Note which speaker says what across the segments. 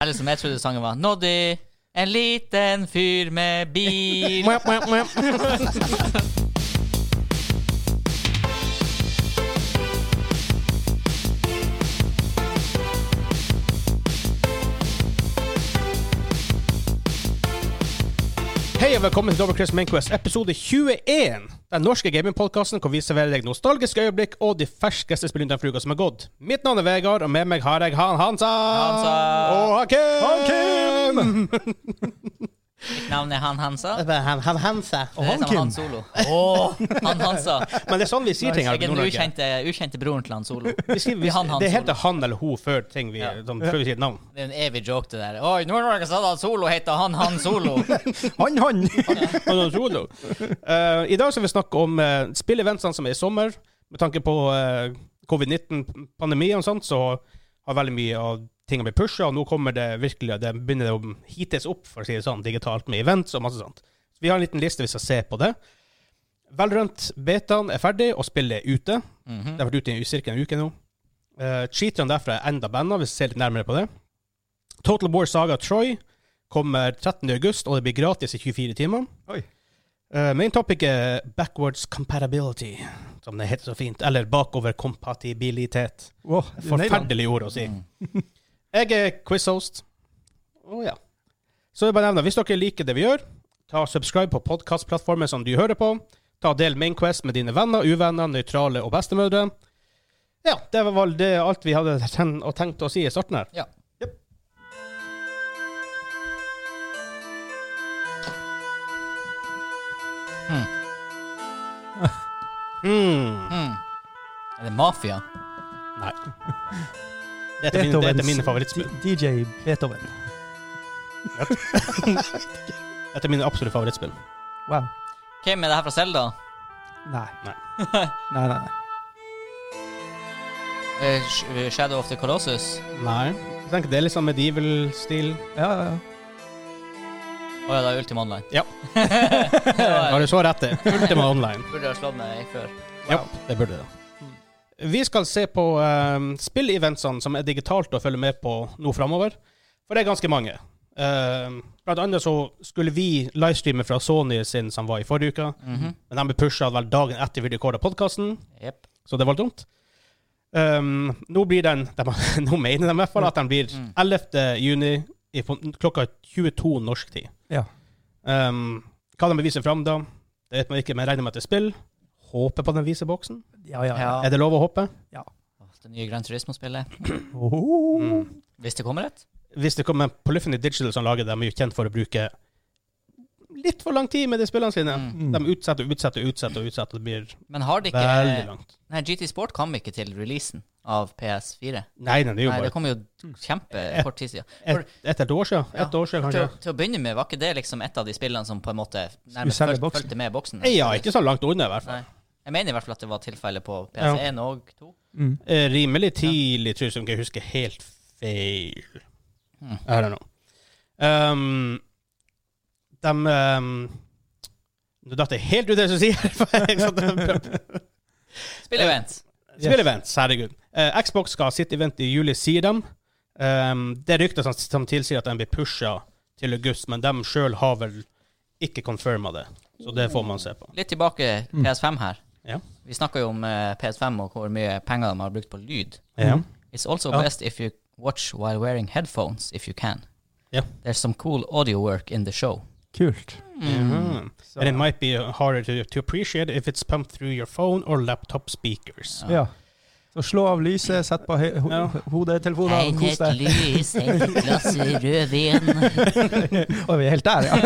Speaker 1: Eller som jeg trodde sangen var. Noddy, en liten fyr med bil.
Speaker 2: Hei og velkommen til Double Chris Mainquest, episode 21. Den norske gamingpodkasten hvor vi serverer deg nostalgiske øyeblikk og de ferskeste spillene fra uka som er gått. Mitt navn er Vegard, og med meg har jeg Han Hansa.
Speaker 1: Hansa.
Speaker 2: Og Hakim.
Speaker 1: Mitt navn er Han Hansa.
Speaker 2: Han, han Hansa.
Speaker 1: Det er som
Speaker 3: Hanken.
Speaker 1: Han Solo. han Hansa.
Speaker 2: Men det er sånn vi sier ting her
Speaker 1: Jeg
Speaker 2: på
Speaker 1: er den
Speaker 2: Nord-Norge.
Speaker 1: ukjente, ukjente broren til Han Solo.
Speaker 2: Vi sier- vi-
Speaker 1: Vi han, han
Speaker 2: Det er helt
Speaker 1: Solo.
Speaker 2: til han eller hun før, ting vi,
Speaker 1: Ja.
Speaker 2: sånn, før vi sier navn.
Speaker 1: Det er en evig joke, det der. Oi, Nord-Norge sa Han Solo heter Han Han Solo.
Speaker 3: Han, han!
Speaker 2: Han er solo. Eh, I dag skal vi snakke om uh, spilleventene som er i sommer. Med tanke på eh, covid-19-pandemi og sånt, så har veldig mye av tingene blitt pusha, og nå kommer det virkelig, det begynner det å hites opp, for å si det sånn, digitalt med events og masse sånt. Så vi har en liten liste vi skal se på det. Valorant betaen er ferdig, og spillet er ute. Det har vært ute i ca. en uke nå. Uh, Cheaterne derfra er enda banna, hvis vi ser litt nærmere på det. Total War Saga Troy kommer 13. august, og det blir gratis i 24 timer.
Speaker 3: Oi.
Speaker 2: Eh, main topic er backwards compatibility, som det heter så fint. Eller bakoverkompatibilitet.
Speaker 3: Wow, Forferdelig.
Speaker 2: Forferdelig ord å si. Jeg er quizhost. Å ja. Så jeg bare nevner, hvis dere liker det vi gjør, ta og subscribe på podkastplattformen som du hører på. Ta og del Mainquest med dine venner, uvenner, nøytrale og bestemødre. Ja, det var vel det alt vi hadde ten og tenkt å si i starten her.
Speaker 1: Ja.
Speaker 2: Mm.
Speaker 1: Mm. Er det mafia?
Speaker 2: Nei. Det er min, det er min favorittspill.
Speaker 3: DJ Beethoven.
Speaker 2: Dette er mine absolutt favorittspill.
Speaker 3: Wow.
Speaker 1: Hvem er det her fra Selda?
Speaker 3: Nei.
Speaker 2: Nei.
Speaker 3: Nei, nei, nei.
Speaker 1: Eh, Shadow of the Colossus?
Speaker 2: Nei. Jeg tenker det er litt sånn medieval-stil.
Speaker 3: Ja, ja, ja.
Speaker 1: Å ja, det er Ultima Online.
Speaker 2: Ja.
Speaker 1: Det var-
Speaker 2: Har du så rett det? Ultima Online.
Speaker 1: Burde ha slått meg før.
Speaker 2: Ja, det burde det. Vi skal se på um, spilleventene som er digitalt å følge med på nå framover. For det er ganske mange. Ehm, blant annet så skulle vi livestreame fra Sony sin som var i forrige uke,
Speaker 1: Mhm.
Speaker 2: men de ble pusha vel dagen etter vi recorda podkasten.
Speaker 1: Jepp.
Speaker 2: Så det var dumt. Ehm, nå blir den de, Nå mener de i hvert fall at den blir
Speaker 1: Mm.
Speaker 2: 11. juni i, på, klokka 22 norsk tid.
Speaker 3: Ja.
Speaker 2: Ehm, hva de viser fram da, det vet man ikke, men regner med at det er spill. Håper på den viser boksen.
Speaker 3: Ja, ja, ja.
Speaker 1: Ja.
Speaker 2: Er det lov å håpe?
Speaker 1: Åh, Det nye Gran Turismo-spillet.
Speaker 3: Oh.
Speaker 2: Mm.
Speaker 1: Hvis det kommer et.
Speaker 2: Hvis det kommer Polyphony Digital som lager dem, er jo kjent for å bruke litt for lang tid med de spillene sine.
Speaker 1: Mm.
Speaker 3: Mm.
Speaker 2: De utsetter og utsetter og utsetter, og utsetter, og det blir
Speaker 1: Men har de
Speaker 2: veldig
Speaker 1: ikke
Speaker 2: langt.
Speaker 1: Nei, GT Sport kom ikke til releasen av PS4.
Speaker 2: Nei, nei, det er
Speaker 1: Nei,
Speaker 2: jo
Speaker 1: det
Speaker 2: bare
Speaker 1: kom jo kjempekort tid siden.
Speaker 2: et, et, et år siden. Et
Speaker 1: Ja.
Speaker 2: år siden,
Speaker 1: Til,
Speaker 2: kanskje.
Speaker 1: å- til å begynne med, var ikke det liksom et av de spillene som på en måte nærmest
Speaker 3: Skulle selge
Speaker 1: fulg-
Speaker 3: boksen.
Speaker 1: fulgte med boksen?
Speaker 2: Ja, ikke så langt unna, i hvert fall.
Speaker 1: Nei. Jeg mener i hvert fall at det var tilfellet på PS1 og 2.
Speaker 3: Mm.
Speaker 2: Eh, rimelig tidlig, tror jeg, som jeg husker helt feil.
Speaker 1: Mm.
Speaker 2: I don't know. Um, de um, Nå datt jeg helt ut det som sier sånn
Speaker 1: Spillevent!
Speaker 2: Spillevents, herregud. Eh, Xbox skal ha sitt event i juli, sier de. Um, det er rykter som, som tilsier at de blir pusha til august, men de sjøl har vel ikke confirma det. Så det får man se på.
Speaker 1: Litt tilbake
Speaker 3: Mm.
Speaker 1: PS5 her.
Speaker 2: Ja.
Speaker 1: Vi snakka jo om eh, PS5 og hvor mye penger de har brukt på lyd.
Speaker 2: Ja.
Speaker 1: It's also
Speaker 2: Ja.
Speaker 1: best if you watch while wearing headphones if you can.
Speaker 2: Ja.
Speaker 1: There's some cool audio work in the show.
Speaker 3: Kult.
Speaker 1: Mm.
Speaker 2: Mhm.
Speaker 3: Så-
Speaker 2: And it might be harder to, to appreciate if it's pumped through your phone or laptop speakers.
Speaker 3: Ja. Så slå av lyset, sett på hø- ho
Speaker 2: Ja.
Speaker 3: hodetelefoner og kos deg.
Speaker 1: lys, et glass rødvin.
Speaker 3: Og vi er helt der, ja.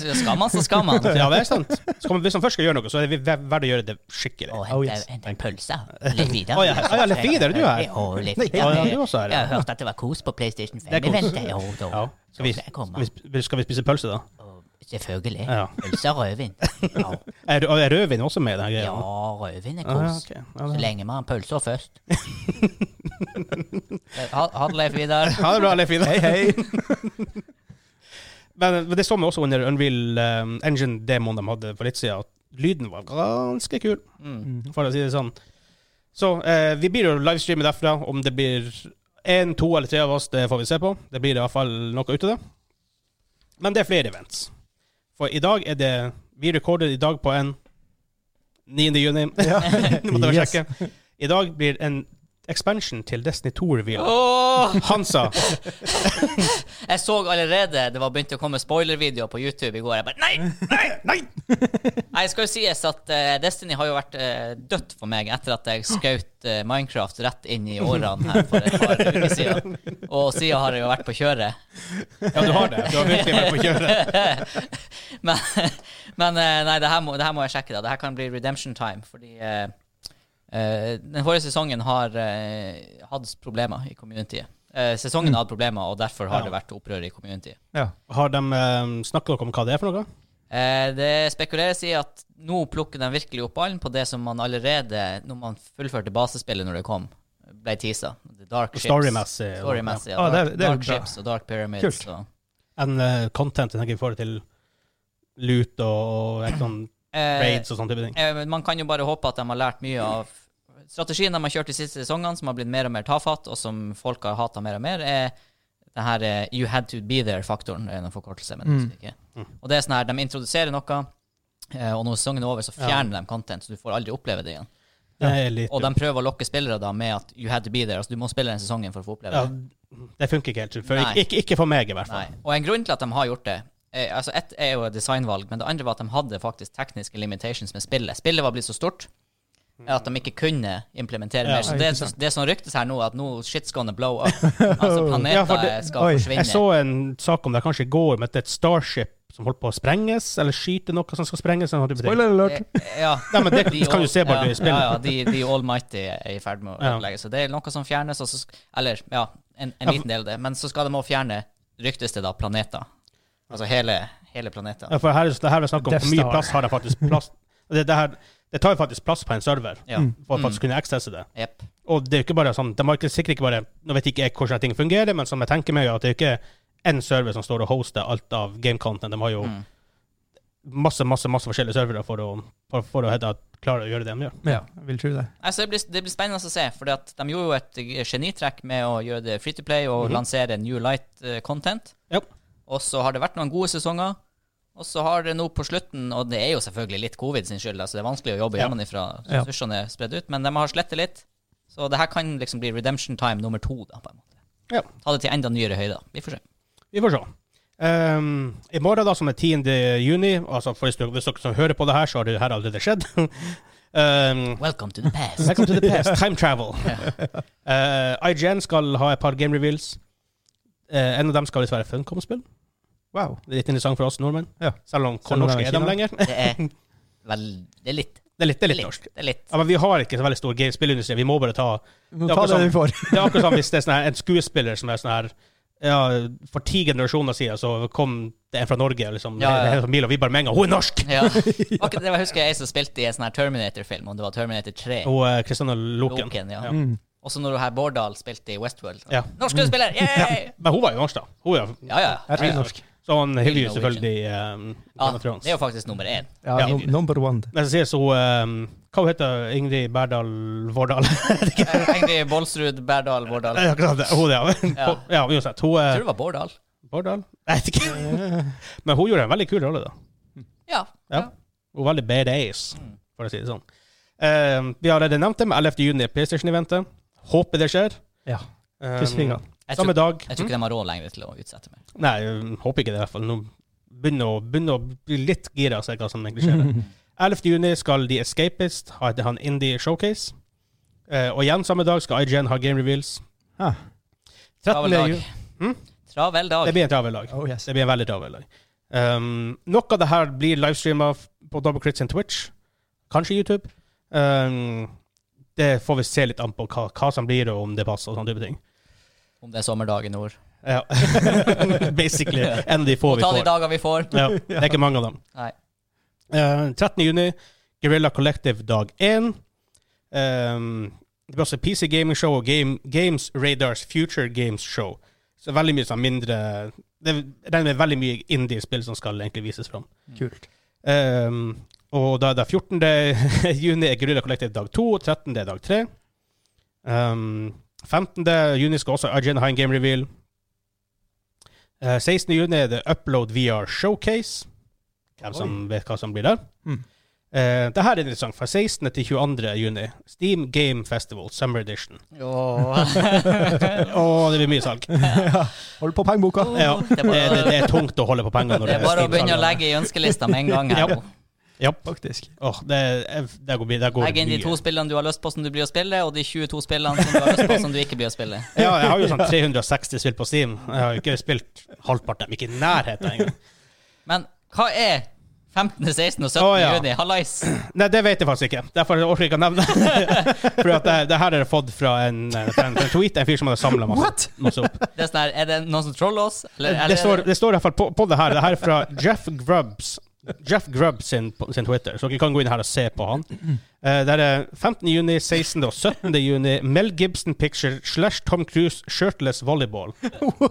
Speaker 1: Så Skal man, så skal man.
Speaker 2: Ja, det er sant. Så kommer, hvis han først skal gjøre noe, så er det ver- verdt å gjøre det skikkelig. Å
Speaker 1: Og
Speaker 3: Oh, yes.
Speaker 1: hente hente en pølse. Litt videre.
Speaker 2: ja, å ja, litt videre, du er her.
Speaker 1: Ja, litt
Speaker 2: Ja,
Speaker 1: videre.
Speaker 2: ja, du også er
Speaker 1: Jeg har
Speaker 2: her.
Speaker 1: hørt at det var kos på PlayStation 5.
Speaker 2: Det er
Speaker 1: Jeg
Speaker 2: kos.
Speaker 1: venter jo, da.
Speaker 2: Ja. Skal, vi,
Speaker 1: Så jeg kommer.
Speaker 2: skal, vi, sp- skal vi spise pølse, da?
Speaker 1: Og Selvfølgelig.
Speaker 2: Ja.
Speaker 1: Pølse og rødvin. Ja,
Speaker 2: Er, og er rødvin også med i den
Speaker 1: ja
Speaker 2: greia?
Speaker 1: rødvin er
Speaker 2: Ah, ja,
Speaker 1: kos.
Speaker 2: ok. Ja,
Speaker 1: Så
Speaker 2: det-
Speaker 1: lenge man har pølser først. Ha ha det, Leif Vidar.
Speaker 2: Ha det bra, Leif Ida.
Speaker 3: Hei, hei.
Speaker 2: Men men det så vi også under Unreal um, Engine-demoen de hadde for litt siden, at lyden var ganske kul,
Speaker 1: Mm.
Speaker 3: Mm.
Speaker 2: for å si det sånn. Så eh, vi blir jo livestreamet derfra, om det blir Én, to eller tre av oss, det får vi se på. Det blir i hvert fall noe ut av det. Men det er flere events. For i dag er det Vi rekorder i dag på en 9. juni.
Speaker 3: Ja.
Speaker 2: Nå måtte jeg bare
Speaker 3: Yes.
Speaker 2: sjekke. I dag blir en expansion til Destiny 2-reveal.
Speaker 1: Åh!
Speaker 2: Hansa.
Speaker 1: Jeg så allerede det var begynt å komme spoilervideoer på YouTube i går. Jeg bare, nei,
Speaker 2: Nei!
Speaker 1: nei, skal jo sies at eh, Destiny har jo vært eh, dødt for meg etter at jeg skjøt eh, Minecraft rett inn i årene her for et par uker siden. Og siden har jeg jo vært på kjøret.
Speaker 2: Ja, du har det. Du har virkelig vært på kjøret.
Speaker 1: men men eh, nei, det her, må, det her må jeg sjekke. da. Det her kan bli redemption time. Fordi eh, eh, den forrige sesongen har eh, hatt problemer i communityet. Eh, sesongen har hatt problemer, og derfor har
Speaker 2: Ja.
Speaker 1: det vært opprør i communityet.
Speaker 3: Ja.
Speaker 2: Har de um, snakket dere om hva det er for noe?
Speaker 1: Eh, det spekuleres i at nå plukker de virkelig opp ballen på det som man allerede, når man fullførte basespillet når det kom, ble teasa. The Dark Ships.
Speaker 2: Storymessig. og-
Speaker 1: Storymessig, ja.
Speaker 3: Ah, det er-
Speaker 1: Dark,
Speaker 3: det er
Speaker 1: dark
Speaker 3: bra.
Speaker 1: Ships og Dark Pyramids.
Speaker 3: Kult.
Speaker 1: og-
Speaker 2: ja. En eh, content jeg tenker i forhold til lut og, og sånn
Speaker 1: Eh,
Speaker 2: raids og sånne type ting.
Speaker 1: Eh, men Man kan jo bare håpe at de har lært mye av strategien de har kjørt de siste sesongene, som har blitt mer og mer tafatt, og som folk har hata mer og mer, er det her eh, You had to be there-faktoren. Det er en forkortelse, men
Speaker 3: Mm.
Speaker 1: det husker jeg ikke. Og det er sånn her, de introduserer noe, eh, og når sesongen er over, så fjerner de content, så du får aldri oppleve det igjen.
Speaker 2: Det er litt
Speaker 1: Og de prøver å lokke spillere da med at you had to be there. Altså, du må spille den sesongen for å få oppleve
Speaker 2: ja,
Speaker 1: det.
Speaker 2: Det funker ikke helt. For
Speaker 1: Nei.
Speaker 2: ikke, ikke, ikke for meg, i hvert
Speaker 1: Nei.
Speaker 2: fall.
Speaker 1: Og en grunn til at de har gjort det eh, Altså Ett er jo et designvalg, men det andre var at de hadde faktisk tekniske limitations med spillet. Spillet var blitt så stort eh, at de ikke kunne implementere
Speaker 2: Ja,
Speaker 1: mer. Så det,
Speaker 3: ikke sant.
Speaker 1: det som ryktes her nå, er at nå shit's gonna blow up. Altså planeter
Speaker 2: Ja, for det-
Speaker 1: skal
Speaker 3: oi,
Speaker 1: forsvinne.
Speaker 2: Jeg så en sak om det kanskje i går, med et Starship som holdt på å sprenges, eller skyte noe som skal sprenges. Sånn type ting.
Speaker 3: Spoiler alert.
Speaker 1: Eh, ja,
Speaker 2: Nei, men det
Speaker 1: de
Speaker 2: kan du
Speaker 1: all-
Speaker 2: se bare
Speaker 1: ja,
Speaker 2: i spillet.
Speaker 1: Ja, ja, de, de Almighty er i ferd med å
Speaker 2: Ja.
Speaker 1: ødelegge. Så det er noe som fjernes, og så sk- Eller, ja, en, en
Speaker 2: Ja,
Speaker 1: liten del av det. Men så skal de òg fjerne, ryktes det da, planeter. Altså hele, hele planeter.
Speaker 2: Ja, for her, er det- det her er snakk om
Speaker 3: Death
Speaker 2: hvor mye
Speaker 3: Star.
Speaker 2: plass har det faktisk plass det, det, her, det tar jo faktisk plass på en server
Speaker 1: Ja.
Speaker 2: for
Speaker 3: Mm.
Speaker 2: å faktisk kunne accesse det.
Speaker 1: Jepp.
Speaker 2: Og det er jo ikke bare sånn, de har ikke, sikkert ikke bare Nå vet ikke jeg hvordan ting fungerer, men som jeg tenker meg, er at det er jo ikke én server som står og hoster alt av game content. De har jo
Speaker 1: Mm.
Speaker 2: masse, masse masse forskjellige servere for å, for, for å hete at klare å gjøre det de gjør.
Speaker 3: Ja, jeg vil tro det.
Speaker 1: Altså, det, blir, det blir spennende å se, for de gjorde jo et genitrekk med å gjøre det free to play og
Speaker 2: Mhm.
Speaker 1: lansere New Light eh, content.
Speaker 2: Japp.
Speaker 1: Og så har det vært noen gode sesonger. Og så har det nå på slutten, og det er jo selvfølgelig litt covid sin skyld, altså det er vanskelig å jobbe
Speaker 2: Ja.
Speaker 1: hjemmefra,
Speaker 3: Ja.
Speaker 1: ressursene er spredd ut, men de har slettet litt. Så det her kan liksom bli redemption time nummer to, da, på en måte.
Speaker 2: Ja.
Speaker 1: Ta det til enda nyere høyder. Vi får se.
Speaker 2: Vi får se. Ehm, I morgen, da, som er 10. juni altså for hvis, dere, hvis dere som hører på det her, så har det her allerede skjedd. um,
Speaker 1: Welcome to the past.
Speaker 2: Welcome to the past. Time travel. Eh, IGN skal ha et par game reveals. Eh, en av dem skal visst være Funcom-spill.
Speaker 3: Wow.
Speaker 2: Det er litt interessant for oss nordmenn.
Speaker 3: Ja.
Speaker 2: Selv om
Speaker 3: Selv
Speaker 2: hvor
Speaker 3: om det
Speaker 2: norske
Speaker 3: er
Speaker 2: er de
Speaker 3: Kina.
Speaker 2: lenger.
Speaker 1: Det er vel Det er litt.
Speaker 2: Det er litt, det er litt norsk.
Speaker 1: Det er litt.
Speaker 2: Ja, men vi har ikke så veldig stor game- spillindustri. Vi må bare ta
Speaker 3: Nå
Speaker 2: Det er
Speaker 3: tar
Speaker 2: akkurat
Speaker 3: det vi får.
Speaker 2: Det er akkurat som hvis det er sånn her, en skuespiller som er sånn her ja, For ti generasjoner siden så kom det en fra Norge, liksom.
Speaker 1: Ja, ja, ja.
Speaker 2: hele familien, Og vi bare med en gang Hun er norsk!
Speaker 1: Ja. Akkurat det var- jeg husker jeg som spilte i en sånn her Terminator-film, om det var Terminator 3.
Speaker 2: Og eh, Kristianne Loken.
Speaker 1: Loken, ja.
Speaker 2: Ja.
Speaker 3: Mm.
Speaker 1: Også når du her Bårdal spilte i Westworld.
Speaker 2: Ja.
Speaker 1: Norsk skuespiller! Yeah!
Speaker 2: Men hun var jo norsk, da. Hun er, jo-
Speaker 1: Ja, ja.
Speaker 3: Jeg tror norsk.
Speaker 2: så han hyller jo
Speaker 1: Norwegian.
Speaker 2: selvfølgelig um,
Speaker 1: ja.
Speaker 2: Game of Thrones.
Speaker 1: Det er jo faktisk nummer én.
Speaker 3: Ja,
Speaker 1: Ja.
Speaker 3: no, number one.
Speaker 2: Men så sies hun um, Hva hun heter hun? Ingrid Berdal Vårdal?
Speaker 1: Eh, Ingrid Bolsrud, Berdal, Bårdal.
Speaker 2: Ja,
Speaker 1: Jeg
Speaker 2: Akkurat det. Hun, ja.
Speaker 1: Ja.
Speaker 2: ja, uansett. Hun eh,
Speaker 1: tror
Speaker 2: er
Speaker 1: det var Bårdal.
Speaker 2: Vårdal? Jeg vet ikke. Men hun gjorde en veldig kul rolle, da.
Speaker 1: Ja.
Speaker 2: Ja. Hun var veldig badass,
Speaker 1: Mm.
Speaker 2: for å si det sånn. Um, vi har allerede nevnt det med 11. juni, PlayStation-eventet. Håper det skjer.
Speaker 3: Ja.
Speaker 2: Um,
Speaker 3: Kryss fingrene.
Speaker 1: Jeg tror,
Speaker 2: Samme dag. Mm.
Speaker 1: jeg tror ikke de har råd lenger til å utsette mer.
Speaker 2: Nei, um, håper ikke det, i hvert fall. Nå begynner å, begynner å bli litt gira og se hva som egentlig skjer. 11. juni skal The Escapist ha et han indie showcase. Eh, og igjen samme dag skal IGN ha game reveals.
Speaker 3: Ah.
Speaker 2: 13.
Speaker 1: Travel dag.
Speaker 2: juni Hm?
Speaker 1: Travel dag.
Speaker 2: Det blir en travel dag.
Speaker 3: Oh yes.
Speaker 2: Det blir en veldig travel dag. Um, noe av det her blir livestreama på Double Crits and Twitch. Kanskje YouTube. Um, det får vi se litt an på hva, hva som blir, og om det passer, og sånne type ting.
Speaker 1: Om det er sommerdag i nord.
Speaker 2: Ja. Basically. En av de få
Speaker 1: Og
Speaker 2: vi
Speaker 1: ta de
Speaker 2: får.
Speaker 1: dager vi får.
Speaker 2: Ja, det er ikke mange av dem.
Speaker 1: Nei.
Speaker 2: Eh, 13. juni, Guerrilla Collective dag 1. Ehm, det blir også PC Gaming Show og Game, Games Radars Future Games Show. Så veldig mye sånn mindre Det er- regner med veldig mye indie-spill som skal egentlig vises fram.
Speaker 3: Kult.
Speaker 2: Ehm, og da er det 14. juni er Guerrilla Collective dag 2, 13. er dag 3. Ehm, 15. juni skal også Argenheim Game Reveal. Eh, 16. juni er det Upload VR Showcase. Hvem som vet hva som blir der.
Speaker 3: Mm.
Speaker 2: Eh, det her er interessant. Fra 16. til 22. juni. Steam Game Festival Summer Edition. Å, det blir mye salg.
Speaker 3: Hold på pengeboka.
Speaker 2: Ja,
Speaker 1: Det er
Speaker 2: det,
Speaker 1: bare-
Speaker 2: det, det er tungt å holde på penger når
Speaker 1: Det er bare å begynne å
Speaker 2: Steam-salg.
Speaker 1: legge i ønskelista med en gang. her
Speaker 2: Ja.
Speaker 1: nå.
Speaker 2: Ja,
Speaker 3: Faktisk.
Speaker 2: åh, det, det går, det går
Speaker 1: Legg inn de
Speaker 2: mye.
Speaker 1: to spillene du har lyst på som du blir å spille, og de 22 spillene som du har lyst på som du ikke blir å spille.
Speaker 2: Ja, jeg har jo sånn 360 spill på Steam. Jeg har jo ikke spilt halvparten av dem. Ikke i nærheten engang.
Speaker 1: Men hva er 15., 16. og 17.
Speaker 2: Å, ja.
Speaker 1: juni? Hallais!
Speaker 2: Nei, det vet jeg faktisk ikke. Derfor orker jeg ikke å nevne det. For at det, det her er det fått fra en, eh, fra en, fra en tweet, en fyr som hadde samla masse, masse opp.
Speaker 1: Det er, sånn her, er det noen som troller oss? Eller er
Speaker 2: Det står, det står i hvert fall på, på det her. Det her er fra Jeff Grubbs. Jeff Grubb sin, på- sin Twitter, så dere kan gå inn her og se på han. Eh, det her er 15. juni, 16. og 17. juni. Mel Gibson Picture slash Tom Cruise shirtless volleyball.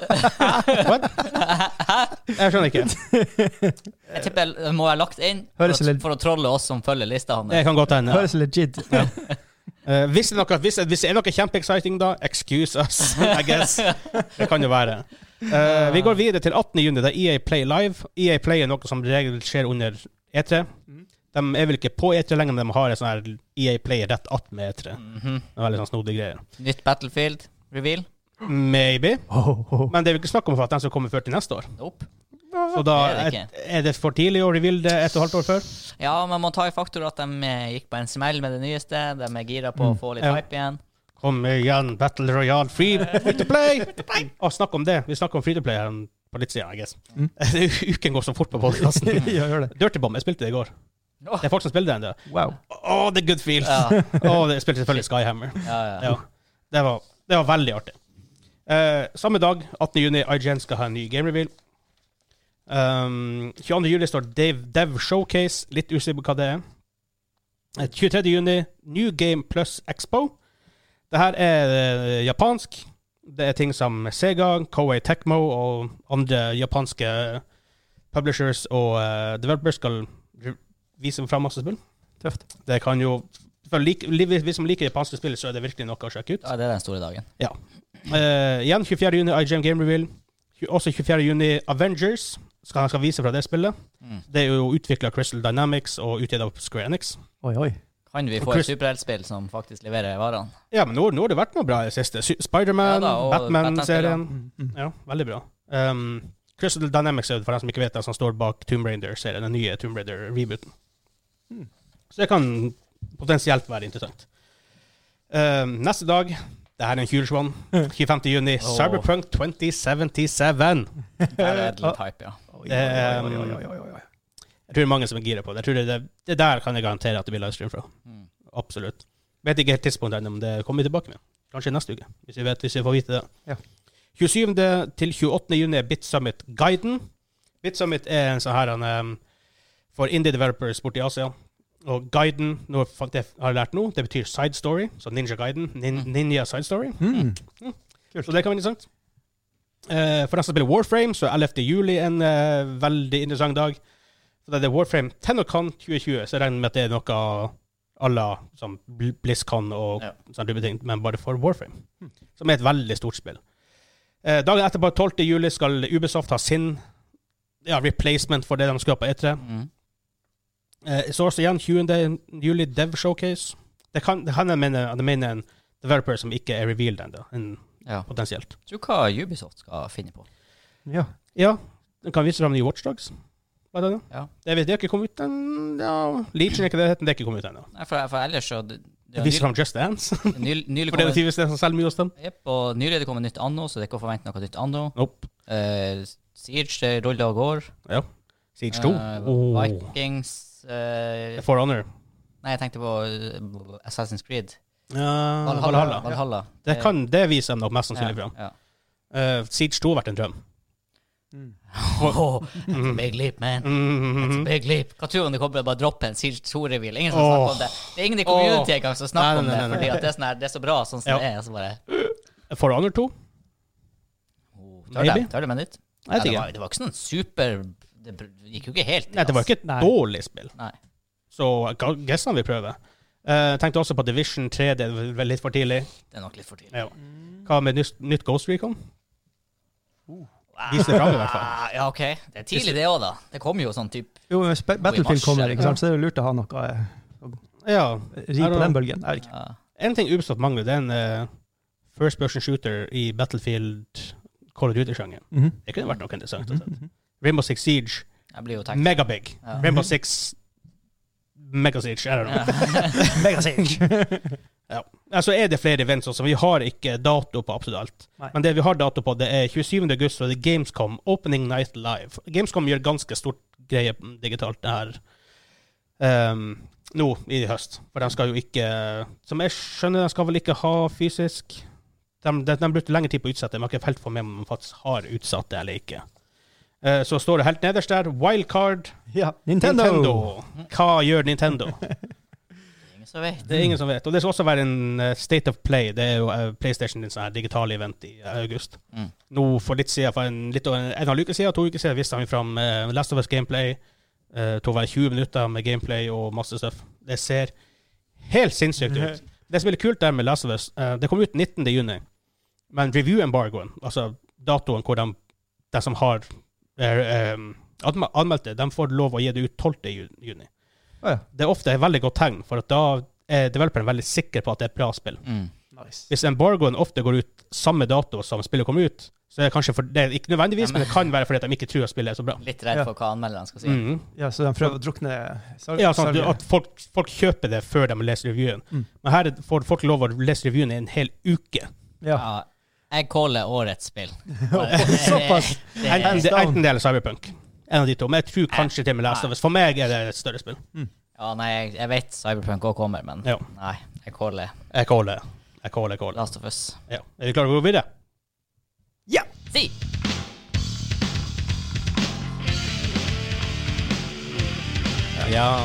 Speaker 2: What? Jeg skjønner ikke.
Speaker 1: Jeg tipper jeg må ha lagt inn for
Speaker 3: Høres
Speaker 1: å,
Speaker 3: litt-
Speaker 1: for å trolle oss som følger lista hans.
Speaker 2: Det kan godt hende.
Speaker 3: Høres legit.
Speaker 2: Eh, hvis, det er noe, hvis, hvis det er noe kjempeexciting, da, excuse us, I guess. Det kan jo være. Eh, vi går videre til 18. juni, da EA Play Live. EA Play er noe som regel skjer under E3.
Speaker 1: Mhm.
Speaker 2: De er vel ikke på E3 lenger, men de har en sånn her EA Play rett attmed E3.
Speaker 1: Mhm.
Speaker 2: Det er veldig sånn snodig greier.
Speaker 1: Nytt Battlefield reveal.
Speaker 2: Maybe.
Speaker 3: Oh, oh.
Speaker 2: Men det er vel ikke snakk om for at den skal komme før til neste år.
Speaker 1: Nope.
Speaker 2: Så
Speaker 1: Det
Speaker 2: da
Speaker 1: er
Speaker 2: er
Speaker 1: det
Speaker 2: det, er det for tidlig å reveal det et og et halvt år før.
Speaker 1: Ja, man må ta i faktor at de eh, gikk på en smell med det nyeste. De er gira på å få litt
Speaker 2: Mm. Ja.
Speaker 1: hype igjen.
Speaker 2: Kom igjen, Battle Royale, free, free to play! Å, snakk om det. Vi snakker om free to play her på litt siden, I guess.
Speaker 3: Mm.
Speaker 2: Uken går så fort på podkasten.
Speaker 3: ja, gjør det.
Speaker 2: Dirty Bomb, jeg spilte det i går.
Speaker 1: Åh.
Speaker 2: Det er folk som spiller det ennå.
Speaker 3: Wow.
Speaker 2: Å, det er good feel!
Speaker 1: Ja,
Speaker 2: Å, det- jeg spilte selvfølgelig Skyhammer.
Speaker 1: ja, ja.
Speaker 2: Ja. Det, var, det var veldig artig. Eh, samme dag, 18. juni, IGN skal ha en ny game reveal. Um, 22. juli står Dave Dev Showcase. Litt usikker på hva det er. Eh, 23. juni, New Game Plus Expo. Det her er eh, japansk. Det er ting som Sega, Koei Tecmo og andre japanske publishers og eh, developers skal r- vise fram masse spill.
Speaker 3: Tøft.
Speaker 2: Det kan jo for lik, li- Vi som liker japanske spill, så er det virkelig noe å sjekke ut.
Speaker 1: ja, det er den store dagen.
Speaker 2: Eh, igjen 24. juni, IGM Game Reveal. Tju- Også 24. juni, Avengers. Skal han skal vise fra det spillet.
Speaker 1: Mm.
Speaker 2: Det er jo utvikla Crystal Dynamics og utgitt av Square Enix.
Speaker 3: Oi, oi.
Speaker 1: Kan vi
Speaker 2: Og
Speaker 1: få
Speaker 2: Chris-
Speaker 1: et superheltspill som faktisk leverer varene?
Speaker 2: Ja, men nå, nå har det vært noe bra i det siste. Sy- Spiderman,
Speaker 1: Ja da, og
Speaker 2: Batman-serien.
Speaker 3: Mm, mm.
Speaker 2: Ja, veldig bra. Um, Crystal Dynamics er jo, for dem som ikke vet det, som står bak Tomb Raider-serien, den nye Tomb Raider-rebooten.
Speaker 3: Mm.
Speaker 2: Så det kan potensielt være interessant. Um, neste dag, det her er en huge one, 25. juni,
Speaker 1: Åh.
Speaker 2: Cyberpunk 2077.
Speaker 1: Der er det litt hype, ja.
Speaker 3: Oi,
Speaker 2: Det,
Speaker 3: oi, oi,
Speaker 2: um,
Speaker 3: oi, oi, oi, oi.
Speaker 2: Jeg tror det er mange som er gira på det. Jeg tror det, det, det der kan jeg garantere at det blir livestream fra.
Speaker 1: Mm.
Speaker 2: Absolutt. Vet ikke helt tidspunktet ennå, men det kommer vi tilbake med. Kanskje neste uke, hvis vi, vet, hvis vi får vite det.
Speaker 3: Ja.
Speaker 2: 27. til 28. juni er Bit Summit Guiden. Bit Summit er en sånn her en, em, for indie developers borti Asia. Og Guiden, nå fant jeg, har jeg lært nå, det betyr side story. Så Ninja Guiden. Nin,
Speaker 1: Mm.
Speaker 2: Ninja side story.
Speaker 3: Mm.
Speaker 2: Så det kan være interessant. Eh, for den som spiller Warframe, så er 11. juli en eh, veldig interessant dag. For det er Warframe Tenocon 2020, så jeg regner med at det er noe à la som Bl- BlizzCon og
Speaker 1: Ja.
Speaker 2: sånne type ting, men bare for Warframe. Som er et veldig stort spill. Eh, dagen etterpå, 12. juli, skal Ubisoft ha sin ja, replacement for det de skulle ha på E3.
Speaker 1: Mm.
Speaker 2: Eh, så også igjen 20. juli, Dev Showcase. Det kan det kan jeg mene at jeg mener en developer som ikke er revealed ennå, en-
Speaker 1: Ja.
Speaker 2: potensielt.
Speaker 1: Tror hva Ubisoft skal finne på.
Speaker 3: Ja.
Speaker 2: Ja, den kan vise fram nye Watchdogs. Hva er det?
Speaker 1: Ja.
Speaker 2: Det vet jeg ikke kommet ut en- ja, Legion er ikke det det heter, det er ikke kommet ut ennå.
Speaker 1: Nei, for, for ellers så det, det
Speaker 2: Den
Speaker 1: er
Speaker 2: viser fram Just Dance, for
Speaker 1: nyl, nyl, nylig
Speaker 2: det er
Speaker 1: kommet-
Speaker 2: jo tydeligvis det som selger mye hos dem.
Speaker 1: Jepp, og nylig er det kommet nytt anno, så det er ikke å forvente noe nytt anno.
Speaker 2: Nope.
Speaker 1: Eh, Siege det ruller og går.
Speaker 2: Siege Oh. 2.
Speaker 1: Eh,
Speaker 2: Åh.
Speaker 1: Vikings eh,
Speaker 2: For Honor.
Speaker 1: Nei, jeg tenkte på eh, Assassin's Creed.
Speaker 2: Ja,
Speaker 1: Valhalla.
Speaker 2: Mm. Valhalla.
Speaker 1: Valhalla. Eh,
Speaker 2: Det, kan, det viser de nok mest sannsynlig fram.
Speaker 1: Ja.
Speaker 2: Eh, Siege 2 har vært en drøm.
Speaker 1: Oh, that's a big leap, man. That's a
Speaker 2: Mhm.
Speaker 1: big leap. Hva tror du om det kommer til å bare droppe en Siege 2-reveal? Ingen som
Speaker 2: Åh.
Speaker 1: snakker om det. Det er ingen i community engang som snakker
Speaker 2: Nei, nei, nei,
Speaker 1: om det,
Speaker 2: nei,
Speaker 1: fordi at det er, sånn her, det er så bra sånn som
Speaker 2: Ja.
Speaker 1: det er. Så bare,
Speaker 2: For Honor 2?
Speaker 1: oh, tør,
Speaker 2: Maybe.
Speaker 1: det, tør det med nytt?
Speaker 2: Jeg vet
Speaker 1: det,
Speaker 2: ikke.
Speaker 1: var, det var ikke sånn super Det br- gikk jo ikke helt. altså.
Speaker 2: Nei, det var ikke et
Speaker 3: Nei.
Speaker 2: dårlig spill.
Speaker 1: Nei.
Speaker 2: Så jeg guess han vil prøve. Eh, Jeg tenkte også på Division 3, det er vel litt for tidlig.
Speaker 1: Det er nok litt for tidlig.
Speaker 2: Ja.
Speaker 1: Mm.
Speaker 2: Hva med nytt, nytt Ghost Recon? Vis det frem i hvert fall.
Speaker 1: Ah, Ja, OK. Det er tidlig, det òg, da. Det kommer jo sånn type
Speaker 3: Jo, men hvis Ba- Battlefield kommer, ikke sant? så er det lurt å ha noe eh,
Speaker 2: Ja.
Speaker 3: ri på den bølgen. Jeg vet ikke.
Speaker 1: ja.
Speaker 2: En ting Ubisoft mangler, det er en eh, first person shooter i Battlefield Call of Duty-sjangeren.
Speaker 3: Mhm.
Speaker 2: Det kunne vært noe interessant. å se.
Speaker 3: Mhm.
Speaker 2: Rainbow Six Siege,
Speaker 1: Jeg blir jo takk.
Speaker 2: megabig.
Speaker 1: Ja.
Speaker 2: Rainbow Six Megasiege, I don't know. ja. Altså er det flere events også. Vi har ikke dato på absolutt alt.
Speaker 3: Nei.
Speaker 2: Men det vi har dato på, det er 27. august, og det er Gamescom Opening Night Live. Gamescom gjør ganske stort greie digitalt det her ehm, nå i høst. For de skal jo ikke Som jeg skjønner, de skal vel ikke ha fysisk De, de, de brukte lengre tid på å utsette. Man har ikke helt fått med om de faktisk har utsatt det eller ikke. Eh, Så står det helt nederst der Wildcard
Speaker 3: Ja, Nintendo!
Speaker 2: Nintendo. Hva gjør Nintendo?
Speaker 1: Ingen som vet.
Speaker 2: Det er ingen som vet. Og det skal også være en eh, State of Play. Det er jo eh, PlayStation sin sånn her digitale event i eh, august.
Speaker 1: Mm.
Speaker 2: Nå for litt siden, for en, litt over en, en halv uke siden, to uker siden, viste han fram eh, Last of Us Gameplay. Uh, til å være 20 minutter med gameplay og masse stuff. Det ser helt sinnssykt ut. Det som er litt kult der med Last of Us, eh, det kom ut 19. juni, men review embargoen, altså datoen hvor de, de som har eh, eh, anme- anmeldt det, de får lov å gi det ut 12. ju- juni.
Speaker 3: Å ja.
Speaker 2: Det er ofte et veldig godt tegn, for at da er developeren veldig sikker på at det er et bra spill.
Speaker 1: Mm.
Speaker 3: Nice.
Speaker 2: Hvis embargoen ofte går ut samme dato som spillet kom ut, så er det kanskje for, det er ikke nødvendigvis, men det kan være fordi at de ikke tror at spillet er så bra.
Speaker 1: Litt redd
Speaker 3: Ja.
Speaker 1: for hva anmelderne skal si.
Speaker 2: Mhm.
Speaker 3: Ja, så de prøver å drukne sar-
Speaker 2: Ja, sånn at,
Speaker 3: sargen.
Speaker 2: at folk, folk kjøper det før de leser revyen.
Speaker 3: Mm.
Speaker 2: Men her får folk lov å lese revyen i en hel uke.
Speaker 1: Ja.
Speaker 3: Ja.
Speaker 1: Jeg caller årets spill.
Speaker 3: Såpass!
Speaker 1: Det er-
Speaker 2: Enten det,
Speaker 3: Down.
Speaker 2: enten det eller Cyberpunk. En av de to. Men jeg tror kanskje til og med Last of Us. For meg er det et større spill.
Speaker 1: Ja, nei, jeg, jeg vet Cyberpunk òg kommer, men
Speaker 2: Ja.
Speaker 1: nei, jeg caller
Speaker 2: Jeg caller. Jeg caller, jeg caller.
Speaker 1: Last of Us.
Speaker 2: Ja. Er vi klare for å gå videre?
Speaker 1: Si!
Speaker 2: Ja.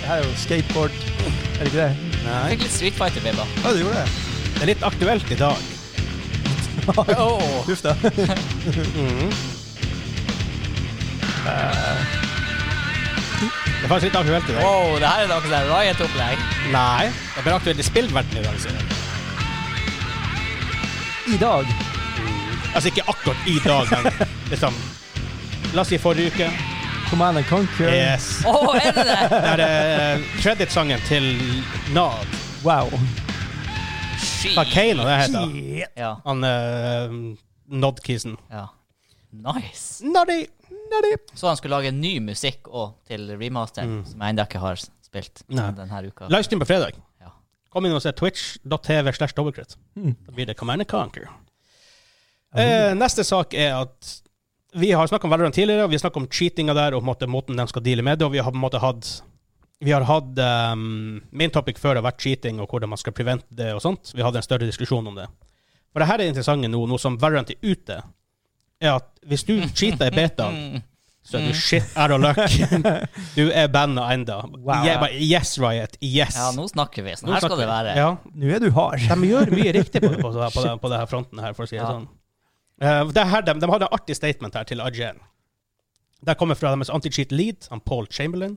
Speaker 3: Det her er jo skateboard. Er det ikke det?
Speaker 1: Jeg
Speaker 2: Nei.
Speaker 1: fikk litt Street Fighter-vibber.
Speaker 3: Å, du gjorde det?
Speaker 2: Det er litt aktuelt i dag.
Speaker 1: Oh.
Speaker 3: Huff da.
Speaker 2: Det er faktisk litt aktuelt i dag.
Speaker 1: Wow, det her er noe sånn riot-opplegg.
Speaker 2: Nei. Det er bare aktuelt i spillverdenen i dag. sier jeg.
Speaker 3: I dag.
Speaker 2: Altså ikke akkurat i dag, men liksom La oss si forrige uke.
Speaker 3: Command and Conquer.
Speaker 2: Yes.
Speaker 1: Å, er det det?
Speaker 2: Det er uh, credit-sangen til Nad.
Speaker 3: Wow.
Speaker 1: Sky.
Speaker 2: Hva Kane det heter?
Speaker 3: Yeah.
Speaker 1: Ja,
Speaker 2: Han uh, Nod-kisen.
Speaker 1: ja. Nice.
Speaker 2: Noddy! Noddy!
Speaker 1: Så han skulle lage ny musikk òg til remasteren, som jeg ennå ikke har spilt
Speaker 2: Mm. Nei.
Speaker 1: denne uka.
Speaker 2: Livestream på fredag.
Speaker 1: Ja.
Speaker 2: Kom inn og se twitch.tv slash dobbeltkritt.
Speaker 3: Mm.
Speaker 2: Da blir det Command and Conquer. Eh, neste sak er at vi har snakket om Valorant tidligere, og vi har snakket om cheatinga der og på en måte, måten de skal deale med det, og vi har på en måte hatt vi har hatt ehm, Main topic før har vært cheating og hvordan man skal prevente det og sånt. Vi hadde en større diskusjon om det. For det her er det interessante nå, nå som Valorant er ute, er at hvis du cheater i betaen,
Speaker 1: Mm.
Speaker 2: så er du shit out of luck. Du er banna enda.
Speaker 3: Wow.
Speaker 2: Jeg bare, yes, Riot. Yes.
Speaker 1: Ja, nå snakker vi. Sånn
Speaker 2: Nå
Speaker 1: her skal
Speaker 2: snakker
Speaker 1: det være.
Speaker 2: vi. Ja.
Speaker 3: Nå er du hard.
Speaker 2: De gjør mye riktig på, på, på, på, på denne fronten her, for å si det
Speaker 1: Ja.
Speaker 2: sånn. Eh, det her, de, de hadde en artig statement her til IGN. Det kommer fra deres anti-cheat lead, han Paul Chamberlain.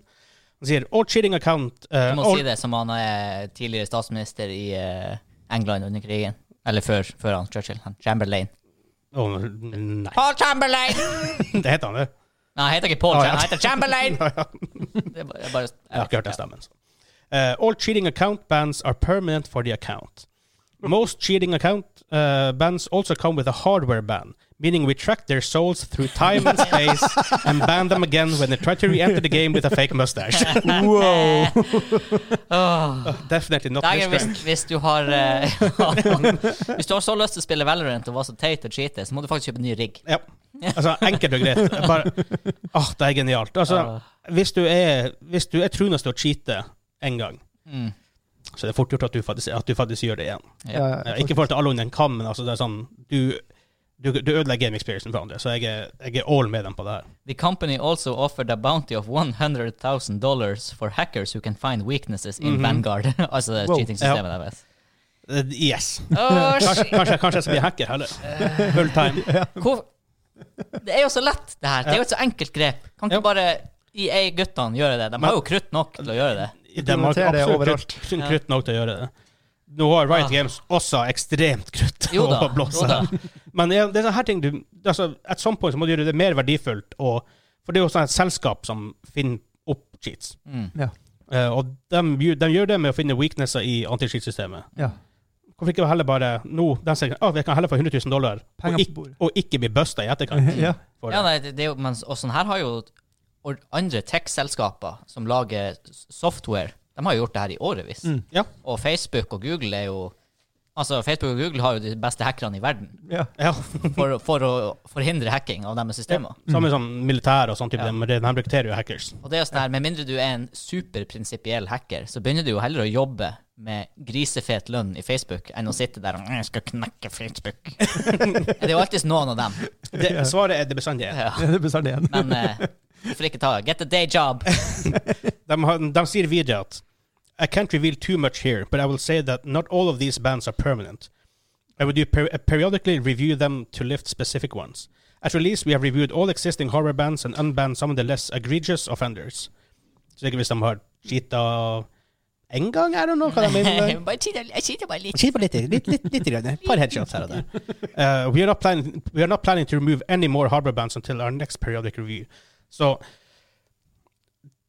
Speaker 2: Han sier all cheating account eh,
Speaker 1: Du må
Speaker 2: all,
Speaker 1: si det som han er tidligere statsminister i eh, England under krigen. Eller før, før han Churchill. Han Chamberlain.
Speaker 2: Å, Nei,
Speaker 1: Paul Chamberlain!
Speaker 2: det heter han, det.
Speaker 1: Nei, han heter ikke Paul,
Speaker 2: Ah, ja.
Speaker 1: Chamberlain, han heter Chamberlain! Det er bare, jeg bare,
Speaker 2: Jeg har ikke hørt den stemmen. Så. Eh, all cheating account bans are permanent for the account. Most cheating account eh, bans also come with a hardware ban, meaning we track their souls through time and space and ban them again when they try to re-enter the game with a fake mustache.
Speaker 3: Wow.
Speaker 1: Åh.
Speaker 2: Definitely not
Speaker 1: Dagen,
Speaker 2: this
Speaker 1: hvis,
Speaker 2: crack.
Speaker 1: hvis du har eh, Hvis du har så lyst til å spille Valorant og var så teit og cheate, så må du faktisk kjøpe en ny rigg.
Speaker 2: Ja. Altså, enkelt og greit. Bare, Åh, det er genialt. Altså, hvis du er, hvis du er trunest til å cheate en gang,
Speaker 1: Mm.
Speaker 2: så er det fort gjort at du faktisk, at du faktisk gjør det igjen.
Speaker 1: Ja.
Speaker 2: Ja, ikke i forhold til alle under en kam, men altså, det er sånn du, du, du ødelegger game experiencen for andre, så jeg er, jeg er all med dem på det her.
Speaker 1: The company also offered a bounty of 100,000 dollars for hackers who can find weaknesses in
Speaker 2: Mhm.
Speaker 1: Vanguard. altså det
Speaker 3: Wow.
Speaker 1: cheating-systemet deres.
Speaker 2: Eh, Yes.
Speaker 1: Åh,
Speaker 2: Kanskje,
Speaker 1: shit.
Speaker 2: kanskje, kanskje jeg skal bli hacker heller. Full time.
Speaker 1: Hvor, det er jo så lett, det her. Det er jo et så enkelt grep. Kan E
Speaker 2: Ja.
Speaker 1: ikke bare EA-guttene gjøre det? De har jo krutt nok til å gjøre det.
Speaker 2: De har
Speaker 3: Implementere det
Speaker 2: absolutt
Speaker 3: overalt.
Speaker 2: krutt, krutt
Speaker 1: Ja.
Speaker 2: krutt nok til å gjøre det. Nå har Riot
Speaker 1: Ah.
Speaker 2: Games også ekstremt krutt
Speaker 1: Jo da,
Speaker 2: å blåse.
Speaker 1: jo da.
Speaker 2: Men det er det er sånne her ting du altså, At some point så må du gjøre det mer verdifullt. Og, for det er jo sånn et selskap som finner opp cheats.
Speaker 1: Mm.
Speaker 2: Eh, og de, gjør- de gjør det med å finne weaknesser i anti-cheat-systemet.
Speaker 3: Ja.
Speaker 2: Hvorfor ikke heller bare nå, den sier at vi kan heller få 100 000 dollar, og
Speaker 3: Penger på
Speaker 2: ikke,
Speaker 3: bordet.
Speaker 2: og ikke bli busta i etterkant?
Speaker 3: Ja.
Speaker 2: for det.
Speaker 1: Ja, nei, det, det er jo, men, og sånn her har jo or- andre tech-selskaper som lager s- software, de har jo gjort det her i årevis.
Speaker 3: Mm.
Speaker 2: Ja.
Speaker 1: Og Facebook og Google er jo Altså, Facebook og Google har jo de beste hackerne i verden
Speaker 3: ja.
Speaker 2: Ja.
Speaker 1: for, for å forhindre hacking av deres systemer.
Speaker 2: Samme som militæret og sånn type.
Speaker 1: Ja.
Speaker 2: De, de rekrutterer jo hackers.
Speaker 1: Og det er jo sånn her, Med mindre du er en superprinsipiell hacker, så begynner du jo heller å jobbe med grisefet lønn i Facebook enn å sitte der og «Jeg skal knekke Facebook'. det er jo alltid noen av dem.
Speaker 2: Det, svaret er det bestandig er.
Speaker 1: Ja.
Speaker 3: Det er bestandig en.
Speaker 1: Men eh, hvorfor ikke ta Get a day job.
Speaker 2: De, har- de sier videre at I can't reveal too much here, but I will say that not all of these bans are permanent. I will do per periodically review them to lift specific ones. At release, we have reviewed all existing horror bans and unbanned some of the less egregious offenders. Så ikke hvis de har cheata en gang, I don't know hva de mener. der.
Speaker 1: Bare titt- Jeg sitter bare litt.
Speaker 2: Kjenn på litt, litt, litt, litt grann. Et par headshots her og der. Uh, we, are not planning, we are not planning to remove any more harbor bands until our next periodic review. Så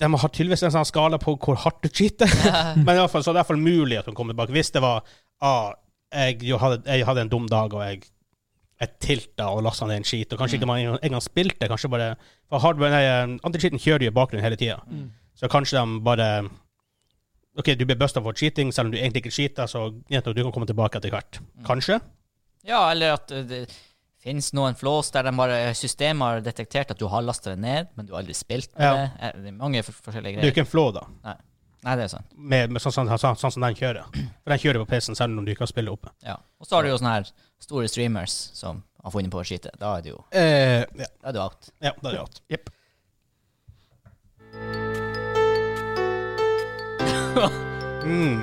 Speaker 2: de har tydeligvis en sånn skala på hvor hardt du cheater. Men i alle fall, så det er iallfall mulig at de kommer tilbake. Hvis det var ah, jeg, jo hadde, jeg hadde en dum dag, og jeg, jeg tilta og lasta ned en skit, og kanskje ikke man en- engang spilte, kanskje bare For hardware, nei, eh, anti-cheaten kjører jo i bakgrunnen hele tida.
Speaker 3: Mm.
Speaker 2: Så kanskje de bare OK, du blir busta for cheating, selv om du egentlig ikke cheater, så gjett at du kan komme tilbake etter hvert.
Speaker 1: Mm.
Speaker 2: Kanskje.
Speaker 1: Ja, eller at eh, det finnes noen flås der de bare systemet har detektert at du har lasta det ned, men du har aldri spilt med
Speaker 2: Ja.
Speaker 1: det. Eh, Det er mange for- forskjellige
Speaker 2: Det er jo
Speaker 1: greier.
Speaker 2: ikke en flå, da,
Speaker 1: Nei, det er sant.
Speaker 2: med, med sånn, sånn, sånn, sånn som den kjører. For den kjører på PC-en selv om du ikke har spillet oppe.
Speaker 1: Ja. Og så har du jo sånne her store streamers som har funnet på å skyte. Da er du jo
Speaker 2: Eh, ja,
Speaker 1: da er du out.
Speaker 2: ja, det er jo alt. Mm.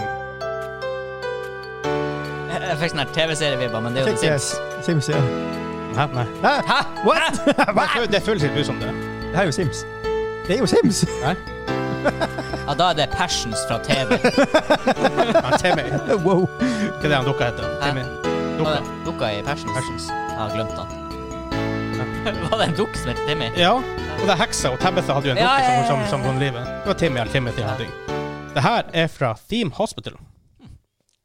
Speaker 1: Jeg jeg fikk sånn her TV-serievibber, men det er jo The
Speaker 3: Sims.
Speaker 1: Sims.
Speaker 3: Sims, ja.
Speaker 2: Hæ? Nei.
Speaker 3: Hæ? What?
Speaker 2: Det føl- Det føles litt ut som det.
Speaker 3: Det her er jo Sims. Det er jo Sims!
Speaker 2: Nei?
Speaker 1: Ja, da er det Passions fra TV.
Speaker 2: Men Timmy, hva
Speaker 3: Wow.
Speaker 2: er det han dukka heter? Timmy.
Speaker 1: Var
Speaker 2: Dukka.
Speaker 1: det en Dukka i Passions.
Speaker 2: Passions.
Speaker 1: Jeg har glemt den. Var det en dukk som het Timmy?
Speaker 2: Ja, og det er heksa, og Tabitha hadde jo en
Speaker 1: Ja,
Speaker 2: dukke
Speaker 1: ja, ja,
Speaker 2: som,
Speaker 1: ja.
Speaker 2: som, som, som livet. Det var Timmy eller Timothy eller noe. Det her er fra Theme Hospital.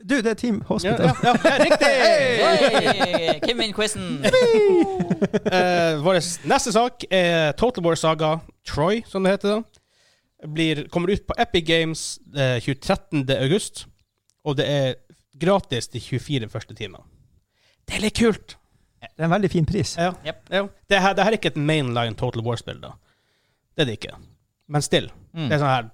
Speaker 3: Du, det er Team
Speaker 2: Ja,
Speaker 3: Hospital.
Speaker 2: ja, ja, ja riktig!
Speaker 1: Hey! Kim in quizen!
Speaker 2: Eh, vår neste sak er Total War Saga Troy, som det heter. da Blir, kommer ut på Epic Games eh, 23. august, og det er gratis de 24 første timene. Det er litt kult!
Speaker 3: Det er en veldig fin pris.
Speaker 2: Ja.
Speaker 1: Yep.
Speaker 2: Ja. Det, her, det her er ikke et mainline Total War-spill, da. Det er det ikke. Men still.
Speaker 1: Mm.
Speaker 2: Det er sånn her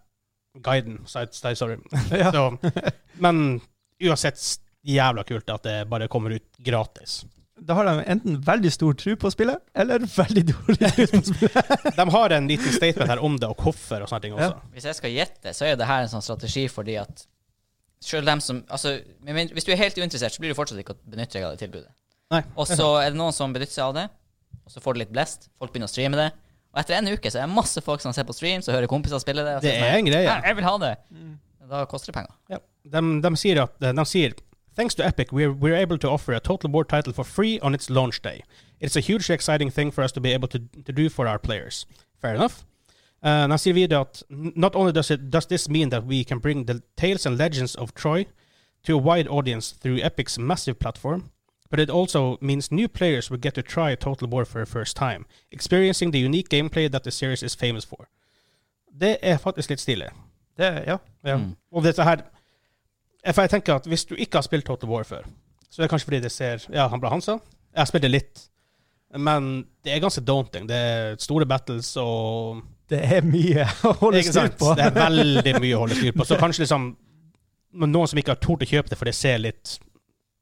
Speaker 2: Guiden. Side, side, sorry.
Speaker 3: Ja.
Speaker 2: Så, men uansett jævla kult at det bare kommer ut gratis.
Speaker 3: Da har de enten veldig stor tro på spillet, eller veldig dårlig tro på spillet.
Speaker 2: De har en liten statement her om det, og hvorfor og sånne ting også.
Speaker 1: Hvis jeg skal gjette, så er det her en sånn strategi fordi at selv dem som Altså, med mindre- hvis du er helt uinteressert, så blir du fortsatt ikke å benytte deg av det tilbudet.
Speaker 2: Nei.
Speaker 1: Og så er det noen som benytter seg av det, og så får det litt blest. Folk begynner å streame det. Og etter en uke så er det masse folk som ser på stream, så hører kompiser spille det. Og så
Speaker 2: Det
Speaker 1: er
Speaker 2: er
Speaker 1: sånn,
Speaker 2: en greie.
Speaker 1: «Ja, jeg vil ha det. Da koster det penger.
Speaker 2: Ja. De, de sier at de sier Thanks to Epic, we're, we're able to offer a Total War title for free on its launch day. It's a hugely exciting thing for us to be able to, to do for our players. Fair enough. Uh, de sier videre at not only does, it, does this mean that we can bring the tales and legends of Troy to a wide audience through Epic's massive platform, but it also means new players will get to try Total War for the first time, experiencing the unique gameplay that the series is famous for. Det er faktisk litt stilig.
Speaker 3: Det, ja.
Speaker 2: Ja.
Speaker 1: Mm.
Speaker 2: Og dette her For jeg tenker at hvis du ikke har spilt Total War før, så er det kanskje fordi det ser Ja, han ble Hansa. Jeg spilte litt. Men det er ganske daunting. Det er store battles og
Speaker 3: det er mye å holde
Speaker 2: Ikke
Speaker 3: styr
Speaker 2: sant?
Speaker 3: på.
Speaker 2: Det er veldig mye å holde styr på. Så kanskje liksom men noen som ikke har tort å kjøpe det, for det ser litt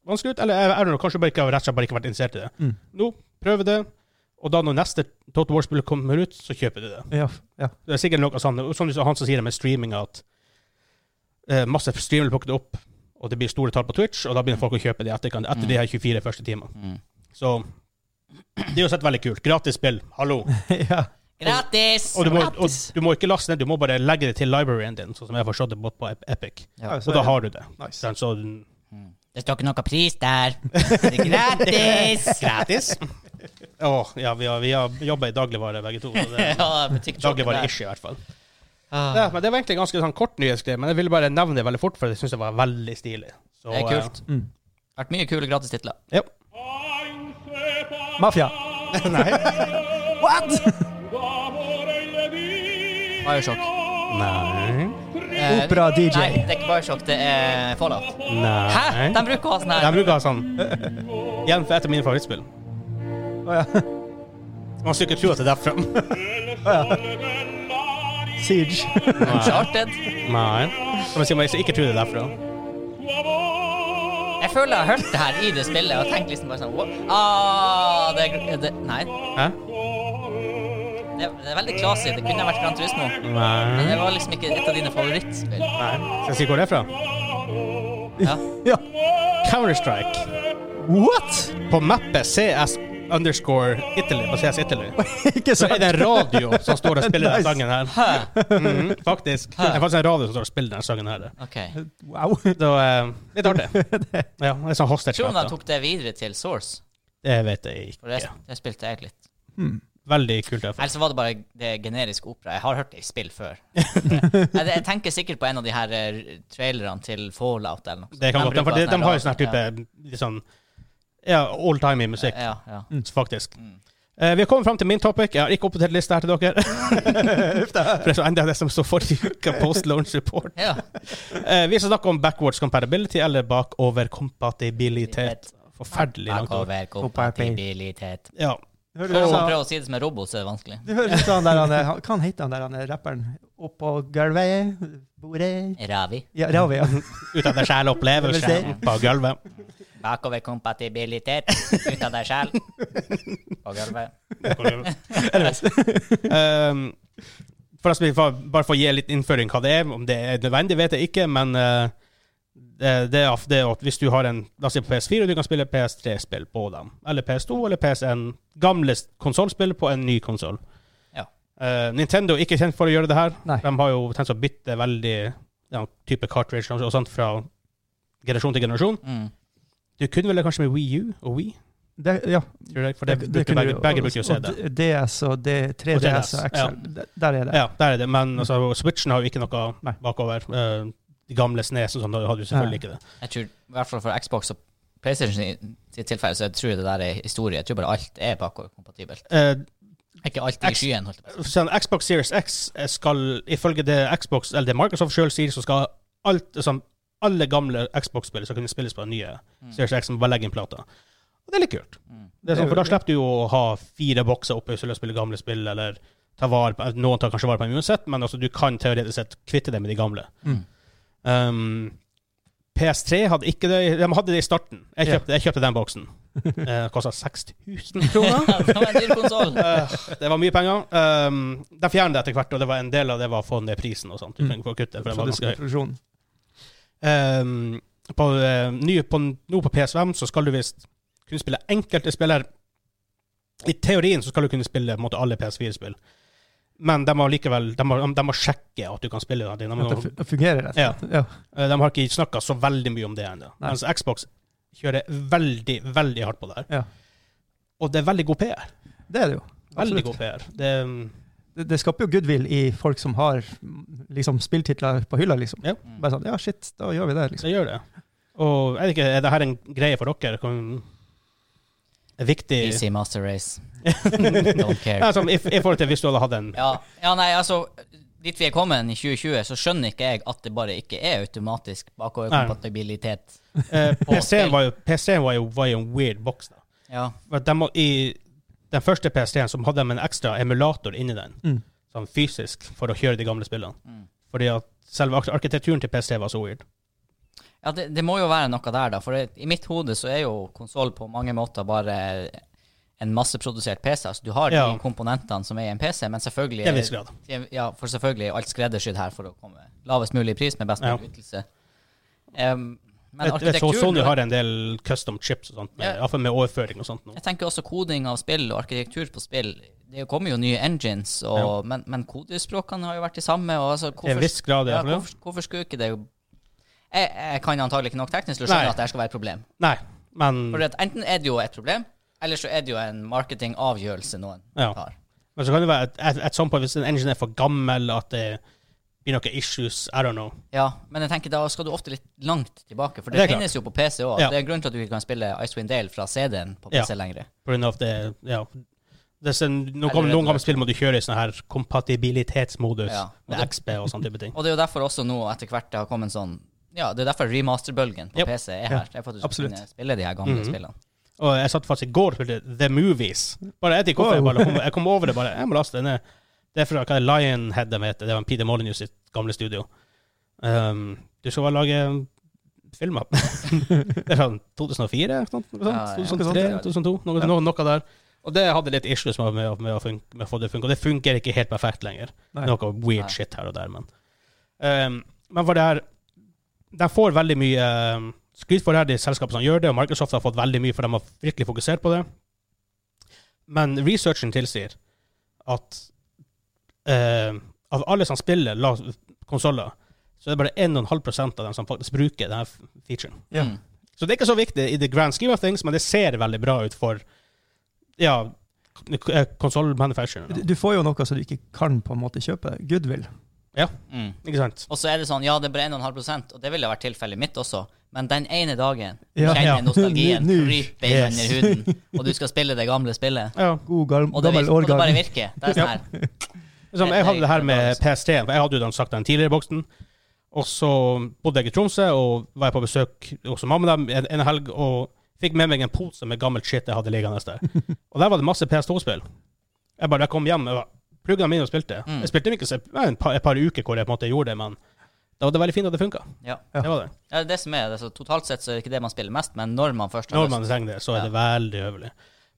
Speaker 2: vanskelig ut. Eller jeg, jeg vet ikke, kanskje bare ikke har rett og slett bare ikke vært interessert i det.
Speaker 3: Mm.
Speaker 2: Nå prøver det, og da når neste Total War-spill kommer ut, så kjøper du det.
Speaker 3: Ja, ja.
Speaker 2: Det er sikkert noe sånn, som du sa, han som sier det med streaming, at eh, masse streamere blir plukket opp, og det blir store tall på Twitch, og da begynner folk å kjøpe det i etterkant, etter
Speaker 1: Mm.
Speaker 2: de her 24 første timene.
Speaker 1: Mm.
Speaker 2: Så det er jo sett veldig kult. Gratis spill, hallo.
Speaker 3: ja.
Speaker 1: Gratis!
Speaker 2: Og du, må, og
Speaker 3: Gratis.
Speaker 2: du må ikke laste ned, du må bare legge det til libraryen din, sånn som jeg har forstått det bort på Ep- Epic.
Speaker 1: Ja.
Speaker 2: Og da har du det.
Speaker 3: Nice.
Speaker 2: Sånn, Så,
Speaker 1: Mm. Det står ikke noe pris der. Det er gratis!
Speaker 2: Gratis! Å, ja, vi har, vi har jobba i dagligvare begge to. så det-
Speaker 1: ja, butikkjobben der.
Speaker 2: Dagligvare-ish, i hvert fall.
Speaker 1: Ah,
Speaker 2: Ja, men Det var egentlig en ganske sånn kort nyhetsgreie, men jeg ville bare nevne det veldig fort, for jeg syns det var veldig stilig. Så,
Speaker 1: det er
Speaker 2: eh,
Speaker 1: kult.
Speaker 3: Mm.
Speaker 1: Vært mye kule gratistitler.
Speaker 2: ja.
Speaker 3: Mafia. What?!
Speaker 1: Bioshock.
Speaker 2: Nei.
Speaker 1: Eh,
Speaker 3: Opera DJ.
Speaker 1: Nei, det er ikke Bioshock, det er Fallout.
Speaker 2: Nei.
Speaker 1: Hæ? De bruker å ha sånn
Speaker 2: Jeg
Speaker 1: her.
Speaker 2: bruker sånn Igjen for et av mine favorittspill.
Speaker 3: Å ja.
Speaker 2: Man skulle ikke tro at det er derfra.
Speaker 3: Siege.
Speaker 1: Uncharted.
Speaker 2: Nei. Som jeg sier, man skal ikke tro det er derfra.
Speaker 1: Jeg føler jeg har hørt det her i det spillet og tenkt liksom bare sånn what? ah, det, er- det, Nei.
Speaker 2: Hæ?
Speaker 1: Det, er- det er veldig classy. Det kunne vært Gran Turismo. Men
Speaker 2: Nei.
Speaker 1: det var liksom ikke et av dine favorittspill.
Speaker 2: Nei. Skal jeg si hvor det er fra?
Speaker 1: Ja.
Speaker 3: Ja.
Speaker 2: Counter-Strike.
Speaker 3: What?!
Speaker 2: På mappet CS underscore Italy. På CS Italy.
Speaker 3: Ikke
Speaker 2: Så er
Speaker 3: sant?
Speaker 2: det en radio som står og spiller
Speaker 3: Nice.
Speaker 2: den sangen her.
Speaker 1: Hæ.
Speaker 2: Mhm, faktisk. Det er faktisk en radio som står og spiller den sangen her.
Speaker 1: OK.
Speaker 3: Wow.
Speaker 2: Så eh, litt artig. Ja, det er sånn hostage.
Speaker 1: Tror du de
Speaker 2: Det
Speaker 1: tok det videre til Source?
Speaker 2: vet jeg
Speaker 1: For det,
Speaker 2: ikke.
Speaker 1: det spilte jeg litt.
Speaker 2: Veldig kult. i hvert fall.
Speaker 1: Eller så var det bare det generiske opera. Jeg har hørt det i spill før. jeg, jeg tenker sikkert på en av de her eh, trailerne til Fallout eller noe.
Speaker 2: Det kan godt, for de, de har jo sånn her type
Speaker 1: Ja,
Speaker 2: litt sånn, ja, all time i musikk,
Speaker 1: ja, ja.
Speaker 2: faktisk.
Speaker 1: Mm.
Speaker 2: Eh, vi har kommet fram til min topic. Jeg har ikke oppdatert lista her til dere. For det er så enda det som står forrige uke, post launch report.
Speaker 1: ja.
Speaker 2: Eh, vi skal snakke om backwards compatibility, eller bakoverkompatibilitet. Forferdelig langt ord.
Speaker 1: Bakoverkompatibilitet.
Speaker 2: Ja.
Speaker 3: Hører
Speaker 1: Prøv
Speaker 3: du
Speaker 1: å
Speaker 3: sånn-
Speaker 1: prøve å si det som en robot, så er det vanskelig.
Speaker 3: Du hører sånn der han er, han- Hva han heter han der han er rapperen? Oppå gulvet, bordet
Speaker 1: Ravi.
Speaker 3: Ja, Ravi, ja.
Speaker 2: Ut av det sjæle
Speaker 3: Det vil si.
Speaker 2: opplevelse på gulvet.
Speaker 1: Bakoverkompatibilitet ut av deg sjæl. På gulvet.
Speaker 2: Um, for å sp- for, bare for å gi litt innføring hva det er, om det er nødvendig, vet jeg ikke, men eh, det, det, er, det er at hvis du har en la oss si på PS4, du kan spille PS3-spill på dem. Eller PS2 eller PS1. Gamle s- konsollspill på en ny konsoll.
Speaker 1: Ja.
Speaker 2: Eh, Nintendo er ikke kjent for å gjøre det her.
Speaker 3: Nei.
Speaker 2: De har jo tenkt å bytte veldig ja, type cartridge og sånt fra generasjon til generasjon.
Speaker 1: Mm.
Speaker 2: Du kunne vel kanskje med Wii U og Wii?
Speaker 3: Det, ja.
Speaker 2: Tror jeg, for det,
Speaker 3: det
Speaker 2: brukte
Speaker 3: kunne
Speaker 2: begge,
Speaker 3: du-
Speaker 2: begge brukte jo
Speaker 3: og-
Speaker 2: CD.
Speaker 3: og DS og det, 3DS
Speaker 2: ja.
Speaker 3: og XL. Der- Der er det.
Speaker 2: Ja, der er det. Men altså, Switchen har jo ikke noe
Speaker 3: Nei.
Speaker 2: bakover. Eh, de gamle Snes og sånn, da hadde du selvfølgelig ikke
Speaker 3: Nei.
Speaker 2: det.
Speaker 1: Jeg tror, i hvert fall for Xbox og PlayStation sin- sitt tilfelle, så jeg tror det der er historie. Jeg tror bare alt er bakoverkompatibelt.
Speaker 2: Eh,
Speaker 1: Ikke alt i
Speaker 2: X-
Speaker 1: skyen, holdt jeg på å si.
Speaker 2: sånn, Xbox Series X eh, skal, ifølge det Xbox, eller det Microsoft sjøl sier, så skal alt, sånn, alle gamle Xbox-spill skal kunne spilles på den nye
Speaker 1: Mm.
Speaker 2: Series X, som bare legger inn plater. Og det er litt kult.
Speaker 1: Mm.
Speaker 2: Det er sånn, for da slipper du jo å ha fire bokser oppe hvis du vil spille gamle spill, eller ta vare på, noen tar kanskje vare på dem uansett, men altså, du kan teoretisk sett kvitte deg med de gamle.
Speaker 3: Mm.
Speaker 2: Um, PS3 hadde ikke det, de hadde det i starten. Jeg
Speaker 3: Ja.
Speaker 2: kjøpte, jeg kjøpte den boksen. Eh, Kosta 6000
Speaker 1: Ja,
Speaker 2: kroner.
Speaker 1: det var en dyr konsoll.
Speaker 2: Eh, det var mye penger. Um, de fjernet det etter hvert, og det var en del av det var å få ned prisen og sånt. Du
Speaker 3: Mm.
Speaker 2: trenger ikke å kutte, for det var
Speaker 3: Produksjon-
Speaker 2: ganske høy.
Speaker 3: produksjon.
Speaker 2: Um, på, eh, ny, på, nå på PSVM så skal du visst kunne spille enkelte spiller. I teorien så skal du kunne spille på en måte, alle PS4-spill, men de må likevel de må, de må sjekke at du kan spille. den. De,
Speaker 3: At det
Speaker 2: må,
Speaker 3: fu- fungerer, rett og
Speaker 2: Ja.
Speaker 3: slett. Ja.
Speaker 2: eh, de har ikke snakka så veldig mye om det ennå.
Speaker 3: Nei.
Speaker 2: Mens Xbox kjører veldig, veldig hardt på det her.
Speaker 3: Ja.
Speaker 2: Og det er veldig god PR.
Speaker 3: Det er det jo.
Speaker 2: Veldig
Speaker 3: Absolutt.
Speaker 2: god PR. Det, um,
Speaker 3: Det, det skaper jo goodwill i folk som har mm, liksom, spilltitler på hylla, liksom.
Speaker 2: Ja.
Speaker 3: Bare sånn Ja, shit, da gjør vi det, liksom.
Speaker 2: det gjør det. Og jeg vet ikke, er det her en greie for dere? Kan- Er viktig
Speaker 1: Easy Master Race. Don't
Speaker 2: Nei,
Speaker 1: care.
Speaker 2: sånn, i, I forhold til hvis du hadde hatt en
Speaker 1: Ja, ja, nei, altså Dit vi er kommet i 2020, så skjønner ikke jeg at det bare ikke er automatisk bakoverkompatibilitet.
Speaker 2: Eh,
Speaker 1: På
Speaker 2: PC-en
Speaker 1: spill.
Speaker 2: var jo, PC var jo, var jo en weird boks. da.
Speaker 1: Ja.
Speaker 2: For at De, må- I den første PC-en så hadde de en ekstra emulator inni den,
Speaker 3: Mm.
Speaker 2: sånn fysisk, for å kjøre de gamle spillene.
Speaker 1: Mm.
Speaker 2: Fordi at selve ark- arkitekturen til PC var så weird.
Speaker 1: Ja, det, det må jo være noe der, da. For det, i mitt hode så er jo konsoll på mange måter bare en masseprodusert PC. Altså, du har
Speaker 2: Ja.
Speaker 1: de komponentene som er i en PC, men selvfølgelig
Speaker 2: I en viss grad.
Speaker 1: til- Ja, for selvfølgelig er alt skreddersydd her for å komme lavest mulig pris med best
Speaker 2: Ja.
Speaker 1: mulig ytelse. Em, Men
Speaker 2: jeg, jeg så Sony
Speaker 1: arkitekturen
Speaker 2: har en del custom chips og sånt, med,
Speaker 1: Ja.
Speaker 2: iallfall med overføring og sånt. Nå.
Speaker 1: Jeg tenker også koding av spill og arkitektur på spill. Det kommer jo nye engines, og, men, men kodespråkene har jo vært de samme. Og altså,
Speaker 2: Til en
Speaker 1: hvorfor,
Speaker 2: viss grad, i
Speaker 1: ja,
Speaker 2: hvert fall, ja.
Speaker 1: hvorfor, hvorfor skulle ikke det jo jeg, jeg kan antagelig ikke nok teknisk til å
Speaker 2: Nei.
Speaker 1: skjønne at dette skal være et problem.
Speaker 2: Nei, men,
Speaker 1: For at enten er det jo et problem, eller så er det jo en marketingavgjørelse noen
Speaker 2: ja.
Speaker 1: har.
Speaker 2: men så kan det være at at- at some point, hvis en engine er for gammel, at det blir noen issues, I don't know.
Speaker 1: Ja, men jeg tenker da skal du ofte litt langt tilbake, for
Speaker 2: Det
Speaker 1: det,
Speaker 2: er klart.
Speaker 1: finnes jo på PC òg.
Speaker 2: Ja.
Speaker 1: Det er en grunn til at du ikke kan spille Icewind Dale fra CD-en på
Speaker 2: Ja.
Speaker 1: PC lenger.
Speaker 2: På grunn av at det, ja. Det er sånn, nå
Speaker 1: Eller
Speaker 2: kommer
Speaker 1: rett og
Speaker 2: noen gamle spill må du kjøre i sånn her kompatibilitetsmodus
Speaker 1: Ja.
Speaker 2: med XB og sånn type ting.
Speaker 1: Og det er jo derfor også nå etter hvert det har kommet sånn Ja, det er derfor remasterbølgen på
Speaker 2: Yep.
Speaker 1: PC er her. Det er for at du skal
Speaker 3: absolutt.
Speaker 1: kunne spille de her gamle
Speaker 2: Mhm.
Speaker 1: spillene.
Speaker 2: Og jeg satt faktisk i går og spilte The Movies. Bare jeg vet ikke hvorfor jeg, bare kom, jeg kom over det bare. Jeg må laste den ned. Det er fra hva er det Lionhead de heter. Det var Peter Molyneux sitt gamle studio. Um, du skal bare lage filmer. det er sånn fra 2004, ikke sant? Noe
Speaker 1: Ja, ja.
Speaker 2: sånt? 2003, 2002, noe, noe, noe der. Og det hadde litt issues med, med, å- med, å, funke, med å få det funke. Og det funker ikke helt perfekt lenger.
Speaker 3: Nei.
Speaker 2: Noe weird
Speaker 1: Nei.
Speaker 2: shit her og der, men um, Men for det her De får veldig mye um, skryt for det her, de selskapene som gjør det, og Microsoft har fått veldig mye, for de har virkelig fokusert på det. Men researchen tilsier at eh, av alle som spiller la- konsoller, så er det bare 1,5 av dem som faktisk bruker denne f- featuren.
Speaker 3: Ja.
Speaker 1: Mm.
Speaker 2: Så det er ikke så viktig i the grand scheme of things, men det ser veldig bra ut for ja, eh, konsollmanufacturer.
Speaker 3: Du, du får jo noe som du ikke kan på en måte kjøpe. Goodwill.
Speaker 1: Mm.
Speaker 2: Ikke sant?
Speaker 1: Og så er det sånn, ja, det er bare 1,5 og det ville vært tilfellet mitt også, men den ene dagen
Speaker 3: Ja,
Speaker 1: kjenner
Speaker 2: ja.
Speaker 1: nostalgien
Speaker 3: Nå- nå.
Speaker 1: krype inn
Speaker 2: Yes.
Speaker 1: under huden, og du skal spille det gamle spillet,
Speaker 2: Ja.
Speaker 3: God, gal,
Speaker 1: og det,
Speaker 3: gammel
Speaker 1: vir- og det
Speaker 3: årgang.
Speaker 1: bare virker. Det er sånn her.
Speaker 2: Liksom, jeg hadde det her med PST-en, for jeg hadde jo den sagt den tidligere i boksen. Og så bodde jeg i Tromsø, og var jeg på besøk hos mamma og dem en, en helg, og fikk med meg en pose med gammelt shit jeg hadde liggende der. Og der var det masse PS2-spill. Jeg bare jeg kom hjem, jeg plugga dem inn og spilte.
Speaker 1: Mm.
Speaker 2: Jeg spilte dem ikke så, det var en par, et par uker hvor jeg på en måte gjorde det, men det var det veldig fint at det funka.
Speaker 1: Ja.
Speaker 3: Ja.
Speaker 2: Det var det.
Speaker 1: Ja, det er det som er det. Så totalt sett så er det ikke det man spiller mest, men når man først har
Speaker 2: Når man
Speaker 1: lyst.
Speaker 2: trenger det, så er det veldig høvelig.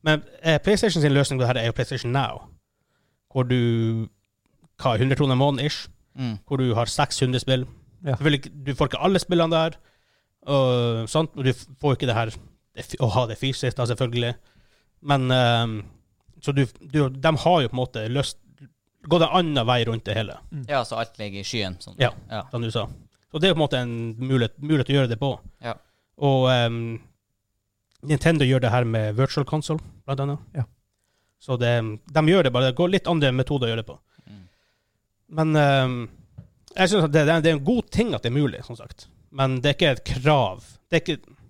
Speaker 2: Men eh, PlayStation sin løsning på det her er jo PlayStation Now, hvor du hva, 100 kroner måneden ish,
Speaker 1: Mm.
Speaker 2: hvor du har 600 spill.
Speaker 3: Ja.
Speaker 2: Selvfølgelig, ikke- du får ikke alle spillene der, og, sånt, og du f- får ikke det her det f- å ha det fysisk, da, selvfølgelig. Men ehm, Så du, du De har jo på en måte løst gått en annen vei rundt det hele,
Speaker 1: Ja, så alt ligger i skyen. Sånn.
Speaker 2: Ja.
Speaker 1: Ja.
Speaker 2: som du sa. Så det er på en måte en mulighet, mulighet å gjøre det på.
Speaker 1: Ja.
Speaker 2: Og ehm, Nintendo gjør det her med virtual console, blant annet.
Speaker 3: Ja.
Speaker 2: Så det, de gjør det bare. Det går litt andre metoder å gjøre det på.
Speaker 1: Mm.
Speaker 2: Men ehm, jeg synes at det, det er- det er en god ting at det er mulig, som sagt. Men det er ikke et krav. Det er ikke,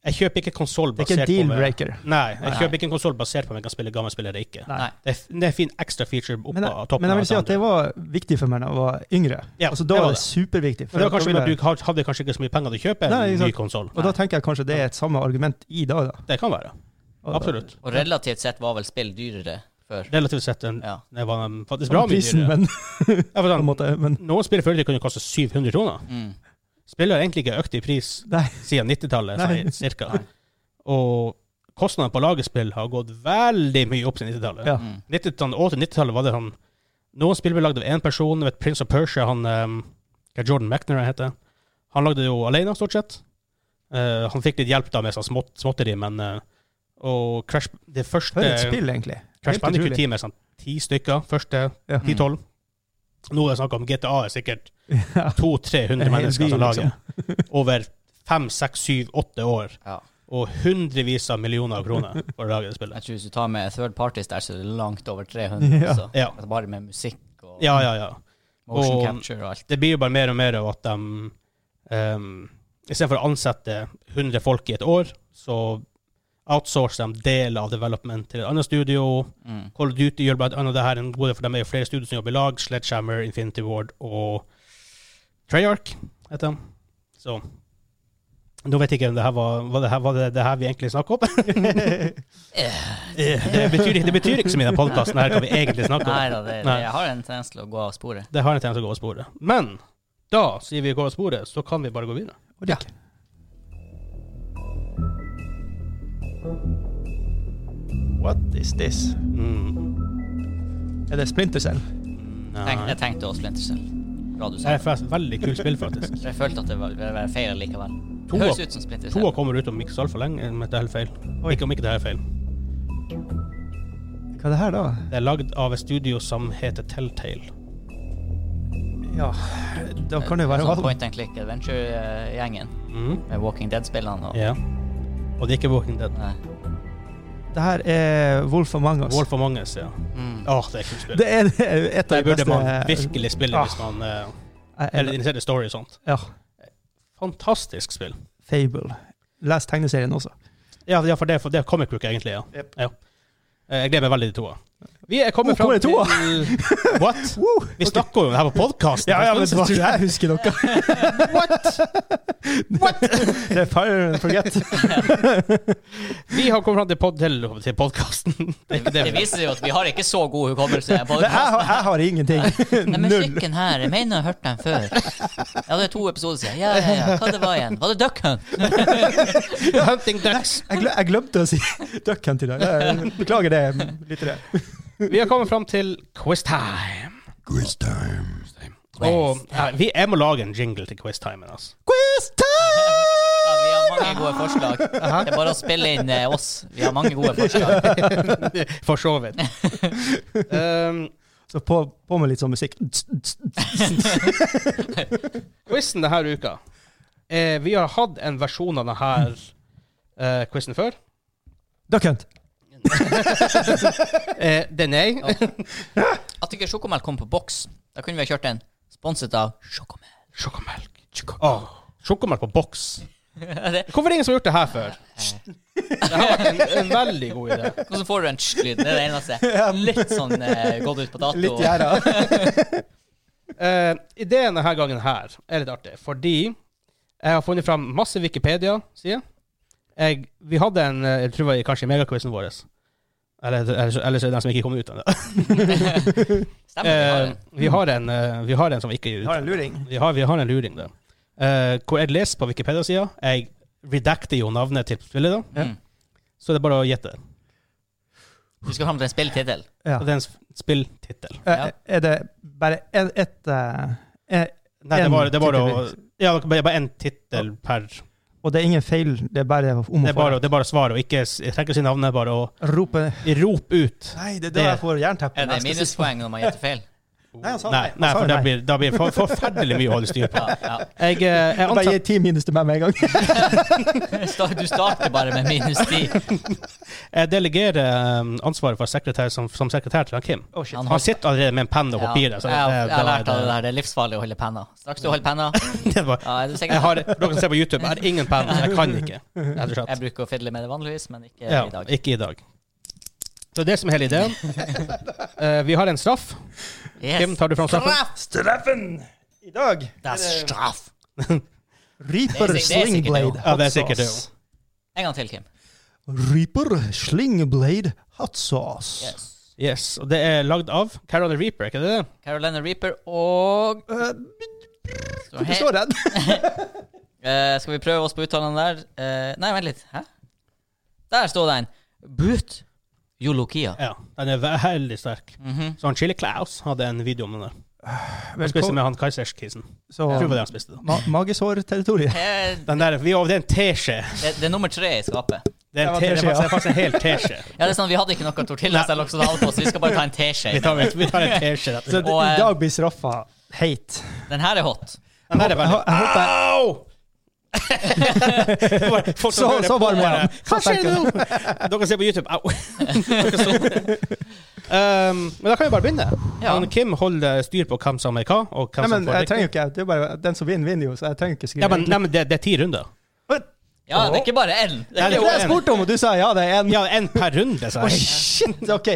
Speaker 2: jeg kjøper ikke konsoll
Speaker 3: Det er ikke
Speaker 2: basert på
Speaker 3: en
Speaker 2: om jeg-
Speaker 3: deal-breaker.
Speaker 2: Nei, jeg
Speaker 1: Nei.
Speaker 2: kjøper ikke en konsoll basert på om jeg kan spille gamle spill eller ikke.
Speaker 3: Nei.
Speaker 1: Nei.
Speaker 2: Det er, det er en fin ekstra feature oppå
Speaker 3: Men jeg,
Speaker 2: toppen.
Speaker 3: men jeg
Speaker 2: av
Speaker 3: vil si
Speaker 2: alt
Speaker 3: at det
Speaker 2: andre.
Speaker 3: var viktig for meg da jeg var yngre.
Speaker 2: Ja,
Speaker 3: altså,
Speaker 2: det
Speaker 3: da
Speaker 2: var
Speaker 3: var det
Speaker 2: det.
Speaker 3: superviktig.
Speaker 2: Men det var
Speaker 3: da
Speaker 2: kanskje
Speaker 3: ville-
Speaker 2: fordi du had- hadde kanskje ikke så mye penger til å kjøpe en
Speaker 3: Nei,
Speaker 2: ny
Speaker 3: ikke sant.
Speaker 2: konsoll.
Speaker 3: og da tenker jeg kanskje det er et samme argument i dag. Da.
Speaker 2: Det kan være.
Speaker 3: Og da-
Speaker 2: Absolutt.
Speaker 1: Og relativt sett var vel spill dyrere før.
Speaker 2: Relativt sett en,
Speaker 1: Ja.
Speaker 2: det var um, faktisk bra
Speaker 3: Samme
Speaker 2: mye
Speaker 3: prisen,
Speaker 2: dyrere.
Speaker 3: men,
Speaker 2: Ja, for
Speaker 3: på en
Speaker 2: sånn,
Speaker 3: måte, men
Speaker 2: Noen spill før i tiden kunne koste 700 kroner.
Speaker 1: Mm.
Speaker 2: Spillet har egentlig ikke økt i pris
Speaker 3: Nei.
Speaker 2: siden 90-tallet,
Speaker 3: Nei.
Speaker 2: sånn cirka.
Speaker 1: Nei.
Speaker 2: Og kostnadene på å lage spill har gått veldig mye opp siden 90-tallet.
Speaker 3: Ja.
Speaker 1: Mm.
Speaker 2: 90-tallet og til 90-tallet var det sånn Noen spill ble lagd av én person. Vet, Prince of Persia, han um, hva Jordan McNair heter Han lagde det jo alene, stort sett. Eh, han fikk litt hjelp da med sånn smått, småtteri, men eh, Og Crash Det
Speaker 3: for
Speaker 2: første
Speaker 3: et spill, egentlig.
Speaker 2: Crash
Speaker 3: Helt utrolig.
Speaker 2: Bandicoot-teamet er sånn ti stykker. Første
Speaker 3: Ja.
Speaker 1: Mm.
Speaker 2: 10-12. Nå er det snakk om GTA er sikkert
Speaker 3: Ja.
Speaker 2: 200-300
Speaker 3: En hel
Speaker 2: mennesker
Speaker 3: by,
Speaker 2: som lager over 5-6-7-8 år.
Speaker 1: Ja.
Speaker 2: Og hundrevis av millioner av kroner for å lage det
Speaker 1: Jeg
Speaker 2: spillet.
Speaker 1: tror hvis du tar med third parties der, så er det langt over 300.
Speaker 3: Ja.
Speaker 1: Så.
Speaker 2: Ja.
Speaker 1: Altså Bare med musikk og
Speaker 2: ja, ja, ja.
Speaker 1: motion
Speaker 2: og-
Speaker 1: capture og alt.
Speaker 2: Det blir jo bare mer og mer av at de um, Istedenfor å ansette 100 folk i et år, så outsourcer de deler av development til et annet studio.
Speaker 1: Mm.
Speaker 2: Call of Duty gjør blant annet det her en god del, for de er jo flere studier som jobber i lag. Sledgehammer, Infinity Ward og Treyarch heter de. Så nå vet jeg ikke om det her var, var, det, her, var det, det her vi egentlig snakker om. Eh, det, betyr, det betyr ikke så mye i den podkasten her hva vi egentlig snakker om.
Speaker 1: Nei da, det, det,
Speaker 2: Nei.
Speaker 1: jeg har en tendens til å gå av sporet.
Speaker 2: Det har en tendens til å gå av sporet. Men da sier vi går av sporet, så kan vi bare gå videre.
Speaker 3: Og det- What is this?
Speaker 2: Mm.
Speaker 3: Er det Splinter Cell?
Speaker 1: Tenk, jeg tenkte å Splinter Cell. Bra du
Speaker 2: Det
Speaker 1: sa
Speaker 2: er
Speaker 1: det.
Speaker 2: forresten veldig kult spill, faktisk.
Speaker 1: Jeg følte at det var- ville være feil likevel. Det høres ut som Splinter
Speaker 2: Toa
Speaker 1: Cell.
Speaker 2: kommer ut om ikke så altfor lenge, om ikke det her er feil.
Speaker 3: Oi.
Speaker 2: Ikke om ikke det her er feil.
Speaker 3: Hva er det her, da?
Speaker 2: Det er lagd av et studio som heter Telltale.
Speaker 3: Ja, da kan det jo være
Speaker 1: Sånn
Speaker 3: hva
Speaker 1: point and click adventure-gjengen
Speaker 3: Mm.
Speaker 2: Mhm.
Speaker 1: med Walking Dead-spillene og
Speaker 2: Ja. Og det er ikke Walking Dead.
Speaker 1: Nei.
Speaker 3: Det her er Wolf Among Us.
Speaker 2: Wolf Among Us, ja.
Speaker 1: Mm.
Speaker 2: Åh, det er kult spill.
Speaker 3: Det er det er et av
Speaker 2: Det
Speaker 3: de
Speaker 2: burde
Speaker 3: beste
Speaker 2: man virkelig spille
Speaker 3: Ah.
Speaker 2: hvis man eh,
Speaker 3: Jeg-
Speaker 2: er
Speaker 3: jeg-
Speaker 2: interessert i story og sånt.
Speaker 3: Ja.
Speaker 2: Fantastisk spill.
Speaker 3: Fable. Les tegneserien også.
Speaker 2: Ja, ja for, det, for det er comic book, egentlig. ja.
Speaker 3: Yep.
Speaker 2: ja. Eh, Jeg gleder meg veldig til toa. Vi er
Speaker 3: Oh,
Speaker 2: kommet
Speaker 3: hvor er toa?
Speaker 2: til What?
Speaker 3: Woo!
Speaker 2: Vi snakker jo om det her på podkasten.
Speaker 3: Ja, ja, men tror jeg husker noe.
Speaker 2: What? What?
Speaker 3: Det er fire and forget.
Speaker 2: Vi har kommet fram til, pod til, til podkasten.
Speaker 1: Det, det viser jo at vi har ikke så god hukommelse. på
Speaker 3: Det, jeg, har, jeg har ingenting.
Speaker 1: Den
Speaker 3: Null.
Speaker 1: musikken her, jeg mener jeg har hørt den før. Ja, det er to episoder siden. Ja, ja, ja. Hva det var igjen? Var det Duck Hunt?
Speaker 2: Hunting Ducks.
Speaker 3: Jeg, glem, jeg glemte å si Duck Hunt i dag. Jeg Beklager det, lyttere.
Speaker 2: Vi har kommet fram til quiztime.
Speaker 4: Quiz time.
Speaker 2: Og ja, vi, jeg må lage en jingle til quiztimen. Altså.
Speaker 3: Quiz
Speaker 1: Ja, vi har
Speaker 3: time!
Speaker 1: mange gode forslag. Det er bare å spille inn eh, oss. Vi har mange gode forslag.
Speaker 2: For så vidt. Um,
Speaker 3: Så på, på med litt sånn musikk.
Speaker 2: Quizen denne uka eh, Vi har hatt en versjon av denne eh, quizen før.
Speaker 3: Duck Hunt.
Speaker 2: Eh, det er nei.
Speaker 1: At ikke sjokomelk kom på boks, da kunne vi ha kjørt en sponset av sjokomelk.
Speaker 2: Sjokomelk. Åh, Sjokomelk på boks.
Speaker 1: Det-
Speaker 2: Hvorfor er det ingen som har gjort det her før? Det har vært en, en veldig god idé.
Speaker 1: Hvordan får du en tsj-lyd? Det er det eneste. Litt sånn eh, gått ut på dato.
Speaker 3: Litt gjerda.
Speaker 2: Eh, ideen denne gangen her er litt artig, fordi jeg har funnet fram masse Wikipedia-sider. Jeg- Vi hadde en eh, Jeg tror det var i- kanskje i megaquizen vår. Eller, eller, så- eller så er det den som ikke kom ut ennå.
Speaker 1: Stemmer, vi har
Speaker 2: Eh,
Speaker 1: det.
Speaker 2: vi, har en, eh, vi har en som ikke er
Speaker 3: Vi
Speaker 2: ute.
Speaker 3: har en luring.
Speaker 2: Vi har, vi har en luring der. Eh, hvor jeg leser på Wikipedia-sida. Jeg redakter jo navnet til spillet, da,
Speaker 1: Mm.
Speaker 2: så det er bare å gjette.
Speaker 1: Du skal fram til en spilltittel.
Speaker 3: Ja.
Speaker 2: Og Det er en sp- spilltittel.
Speaker 3: Eh, Er det bare ett et, eh, eh,
Speaker 2: Nei, det
Speaker 3: En
Speaker 2: var, det var å
Speaker 3: tittel.
Speaker 2: Ja, det er bare én tittel per det
Speaker 3: Og det er ingen feil, det er bare om å
Speaker 2: er
Speaker 3: få
Speaker 2: bare, det er bare å svare, og ikke s- trekke sin navnet, bare å
Speaker 3: rope
Speaker 2: rope ut.
Speaker 3: Nei, det er
Speaker 2: Det-
Speaker 3: da jeg får jernteppe.
Speaker 1: Er det
Speaker 3: når jeg skal si-
Speaker 1: minuspoeng når man gjetter feil?
Speaker 3: Nei, han sa
Speaker 2: Nei, nei for da blir da blir det for, forferdelig mye å holde styr på.
Speaker 1: Ja, ja.
Speaker 2: Jeg, eh, jeg
Speaker 3: Bare gi
Speaker 2: antar,
Speaker 3: ti minus til meg med en gang.
Speaker 1: Sta- Du starter bare med minus ti.
Speaker 2: jeg delegerer eh, ansvaret for sekretær som, som sekretær til han Kim.
Speaker 3: Oh, shit.
Speaker 1: Han har-
Speaker 2: Han sitter allerede med en penn og
Speaker 1: Ja,
Speaker 2: papir. så
Speaker 1: jeg, har-
Speaker 2: det- det
Speaker 1: jeg har
Speaker 2: var-
Speaker 1: lært av det der. Det er livsfarlig å holde penna. Straks du holder penna
Speaker 2: det var-
Speaker 1: ja, er du sikker?
Speaker 2: Jeg har, dere kan se på YouTube, jeg har ingen penn. Jeg kan ikke. Rett og slett.
Speaker 1: Jeg bruker å fidle med det vanligvis, men ikke
Speaker 2: Ja,
Speaker 1: i dag.
Speaker 2: ikke i dag. Så det er det som er hele ideen. Eh, vi har en straff.
Speaker 1: Yes.
Speaker 2: Kim, tar du fram straffen?
Speaker 3: Straffen i dag
Speaker 1: Det er straff!
Speaker 3: Reaper
Speaker 1: Det er sik- det er sikkert
Speaker 3: Slingblade
Speaker 2: det. Ja, det er
Speaker 3: hot
Speaker 2: sikkert det
Speaker 3: sauce.
Speaker 1: En gang til, Kim.
Speaker 3: Reaper Slingblade hot sauce.
Speaker 1: Yes.
Speaker 2: Yes, og det er lagd av Carol the Reaper, ikke det?
Speaker 1: Carolina Reaper og
Speaker 3: Eh,
Speaker 1: Står
Speaker 3: Hvorfor
Speaker 1: he-
Speaker 3: står den?
Speaker 1: Eh, Skal vi prøve oss på uttalen der? Eh, nei, vent litt. Hæ? Der står den. Boot Yolokia.
Speaker 2: Ja, den er veldig sterk.
Speaker 1: Mhm.
Speaker 2: Så han Chili Claus hadde en video om den der. Han spiste
Speaker 3: Velkommen.
Speaker 2: med han Kaiserskisen.
Speaker 3: Så,
Speaker 2: Jeg tror det var det han spiste. da.
Speaker 3: ma Magesårterritoriet.
Speaker 1: Eh,
Speaker 2: Den der, vi, og det er en teskje.
Speaker 1: det, det er nummer tre i skapet.
Speaker 2: Det er,
Speaker 3: Det var
Speaker 2: en te, det er,
Speaker 3: teskje,
Speaker 2: faktisk,
Speaker 3: ja.
Speaker 2: det er faktisk en hel teskje.
Speaker 1: Ja, det er sånn, Vi hadde ikke noe tortillas eller oksodal på, så vi skal bare ta en teskje.
Speaker 2: Vi tar, vi tar en teskje, rett og
Speaker 3: Så
Speaker 2: slett.
Speaker 3: det,
Speaker 1: Og, eh,
Speaker 3: i dag blir straffa heit.
Speaker 1: Den her er hot.
Speaker 2: Den der er veldig
Speaker 3: Jeg, jeg håper
Speaker 2: Au! Folk som
Speaker 3: Så-
Speaker 2: hører
Speaker 3: så
Speaker 2: på
Speaker 3: varm er
Speaker 2: bare, Hva
Speaker 3: han. Så
Speaker 2: skjer
Speaker 3: sterk er
Speaker 2: nå? Dere kan se på YouTube. Au! Dere så- um, men da kan vi bare begynne.
Speaker 1: Ja.
Speaker 2: Han Kim holder styr på hvem som er hva. Og hvem
Speaker 3: Nei, men
Speaker 2: som får
Speaker 3: jeg
Speaker 2: riktig.
Speaker 3: trenger jo ikke Det er bare den som vinner, vinner jo, så jeg trenger ikke skrive.
Speaker 2: ja, men, nei, men det, det er ti runder.
Speaker 1: Ja, det er ikke bare én. Det
Speaker 2: Nei,
Speaker 1: er
Speaker 2: det
Speaker 3: det
Speaker 1: jo
Speaker 3: var det jeg
Speaker 2: en.
Speaker 3: spurte om, og du sa ja, det er en.
Speaker 2: Ja, én per runde, sa
Speaker 3: Å,
Speaker 2: jeg.
Speaker 3: shit! OK.
Speaker 2: Ja.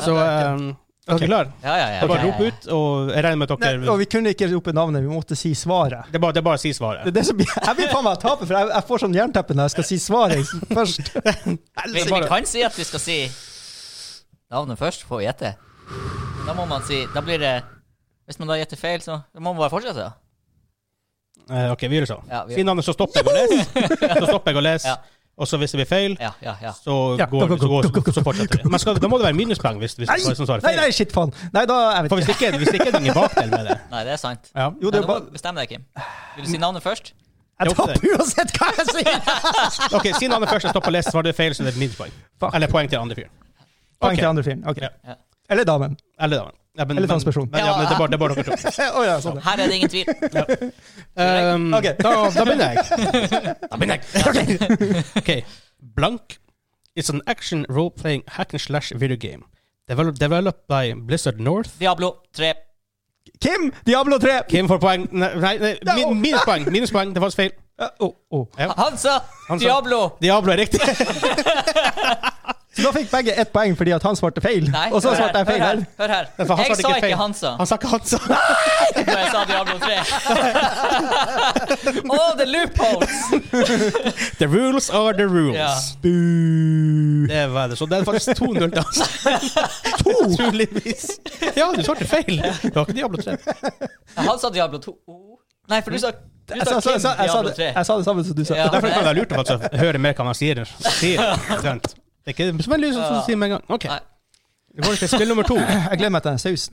Speaker 2: Så
Speaker 3: eh,
Speaker 2: um, er dere klare?
Speaker 1: Ja, ja, ja.
Speaker 2: Bare
Speaker 1: ja, ja,
Speaker 2: rop
Speaker 1: ja.
Speaker 2: ut, og jeg regner med at
Speaker 3: Nei,
Speaker 2: dere
Speaker 3: og vi kunne ikke rope navnet, vi måtte si svaret.
Speaker 2: Det er bare, det er bare å si
Speaker 3: Det
Speaker 2: svaret.
Speaker 3: er det som blir, jeg blir faen meg taper, for jeg, jeg får sånn jernteppe når jeg skal si svaret først.
Speaker 1: Hvis vi
Speaker 2: Bare-
Speaker 1: kan si at vi skal si navnet først, får vi gjette. Men Da må man si Da blir det Hvis man da gjetter feil, så da må man bare fortsette. da.
Speaker 2: Eh, OK, vi gjør det sånn.
Speaker 1: Ja, vi-
Speaker 2: Si navnet, så stopper jeg å lese. Så stopper jeg å lese.
Speaker 1: Ja.
Speaker 2: Og så hvis det blir feil,
Speaker 1: Ja, ja, ja.
Speaker 2: så,
Speaker 3: Ja,
Speaker 2: går,
Speaker 3: gå, gå,
Speaker 2: så, går,
Speaker 3: gå, gå,
Speaker 2: så fortsetter vi. Men skal, da må det være minuspoeng hvis, hvis
Speaker 3: Nei,
Speaker 2: det er som svarer
Speaker 3: nei, nei
Speaker 2: feil.
Speaker 3: shit, faen. Nei, da jeg
Speaker 2: For
Speaker 3: vet
Speaker 2: hvis det
Speaker 3: ikke.
Speaker 2: ikke, hvis det ikke er det ingen bakdel med det
Speaker 1: Nei, det er sant.
Speaker 2: ja.
Speaker 3: Jo,
Speaker 1: Nei,
Speaker 3: det
Speaker 1: du
Speaker 3: er
Speaker 1: må
Speaker 3: bare
Speaker 1: bestemme deg, Kim. Vil du si navnet først?
Speaker 2: Det
Speaker 3: Jeg
Speaker 2: er opp til
Speaker 3: taper uansett hva jeg sier!
Speaker 2: Ok, Siden han er først og stoppa lest, så var det feil, så det er mitt poeng.
Speaker 3: Fuck.
Speaker 2: Eller poeng til den andre fyren.
Speaker 3: Poeng
Speaker 2: Ok.
Speaker 3: til andre fyren. Ok.
Speaker 2: Ja.
Speaker 1: Ja.
Speaker 3: Eller damen.
Speaker 2: Eller da. Ja, men,
Speaker 3: Eller
Speaker 2: men-
Speaker 3: transperson.
Speaker 2: Men, ja, men det er bare- det er bare dere to.
Speaker 3: Å ja, sånn.
Speaker 1: Her er det ingen tvil.
Speaker 2: Um,
Speaker 3: Ok.
Speaker 2: da, da begynner jeg. Da begynner jeg. Okay. Blank is an action role-playing hack and slash video game developed, developed by Blizzard North.
Speaker 1: Diablo 3.
Speaker 3: Kim! Diablo 3!
Speaker 2: Kim får poeng. Nei, nei, nei min, minuspoeng. Minuspoeng. Det var feil.
Speaker 3: Ja, oh, å, å.
Speaker 2: Ja.
Speaker 1: Hansa!
Speaker 2: Hansa.
Speaker 1: Diablo!
Speaker 2: Diablo er riktig.
Speaker 3: Så da fikk begge ett poeng fordi at han svarte feil.
Speaker 1: Nei,
Speaker 3: og så
Speaker 1: hør her,
Speaker 3: svarte jeg feil.
Speaker 1: Hør
Speaker 3: her.
Speaker 1: her. Hør her.
Speaker 2: For han
Speaker 1: Jeg
Speaker 2: svarte
Speaker 1: sa ikke
Speaker 2: feil.
Speaker 1: Hansa
Speaker 2: Han sa ikke Hansa.
Speaker 1: da jeg sa Diablo 3. All the loopholes!
Speaker 2: The rules are the rules.
Speaker 1: Ja.
Speaker 3: Bu.
Speaker 2: Det var det. Så det er faktisk 2-0 til Hansa. Naturligvis. Ja, du svarte feil. Det var ikke Diablo 3.
Speaker 1: Han sa Diablo 2. Oh. Nei, for du sa, du
Speaker 3: Jeg
Speaker 1: sa
Speaker 3: sa,
Speaker 1: Kim
Speaker 3: jeg, sa, jeg, sa
Speaker 1: Diablo
Speaker 3: det,
Speaker 1: 3.
Speaker 3: jeg sa det samme som du sa.
Speaker 1: Ja.
Speaker 2: Derfor kan det være lurt å faktisk høre mer hva han sier. sier. ikke sant? Det er ikke som en lys som sier med en gang. Ok,
Speaker 1: Nei.
Speaker 2: vi går til spill nummer to.
Speaker 3: Jeg gleder meg til den sausen.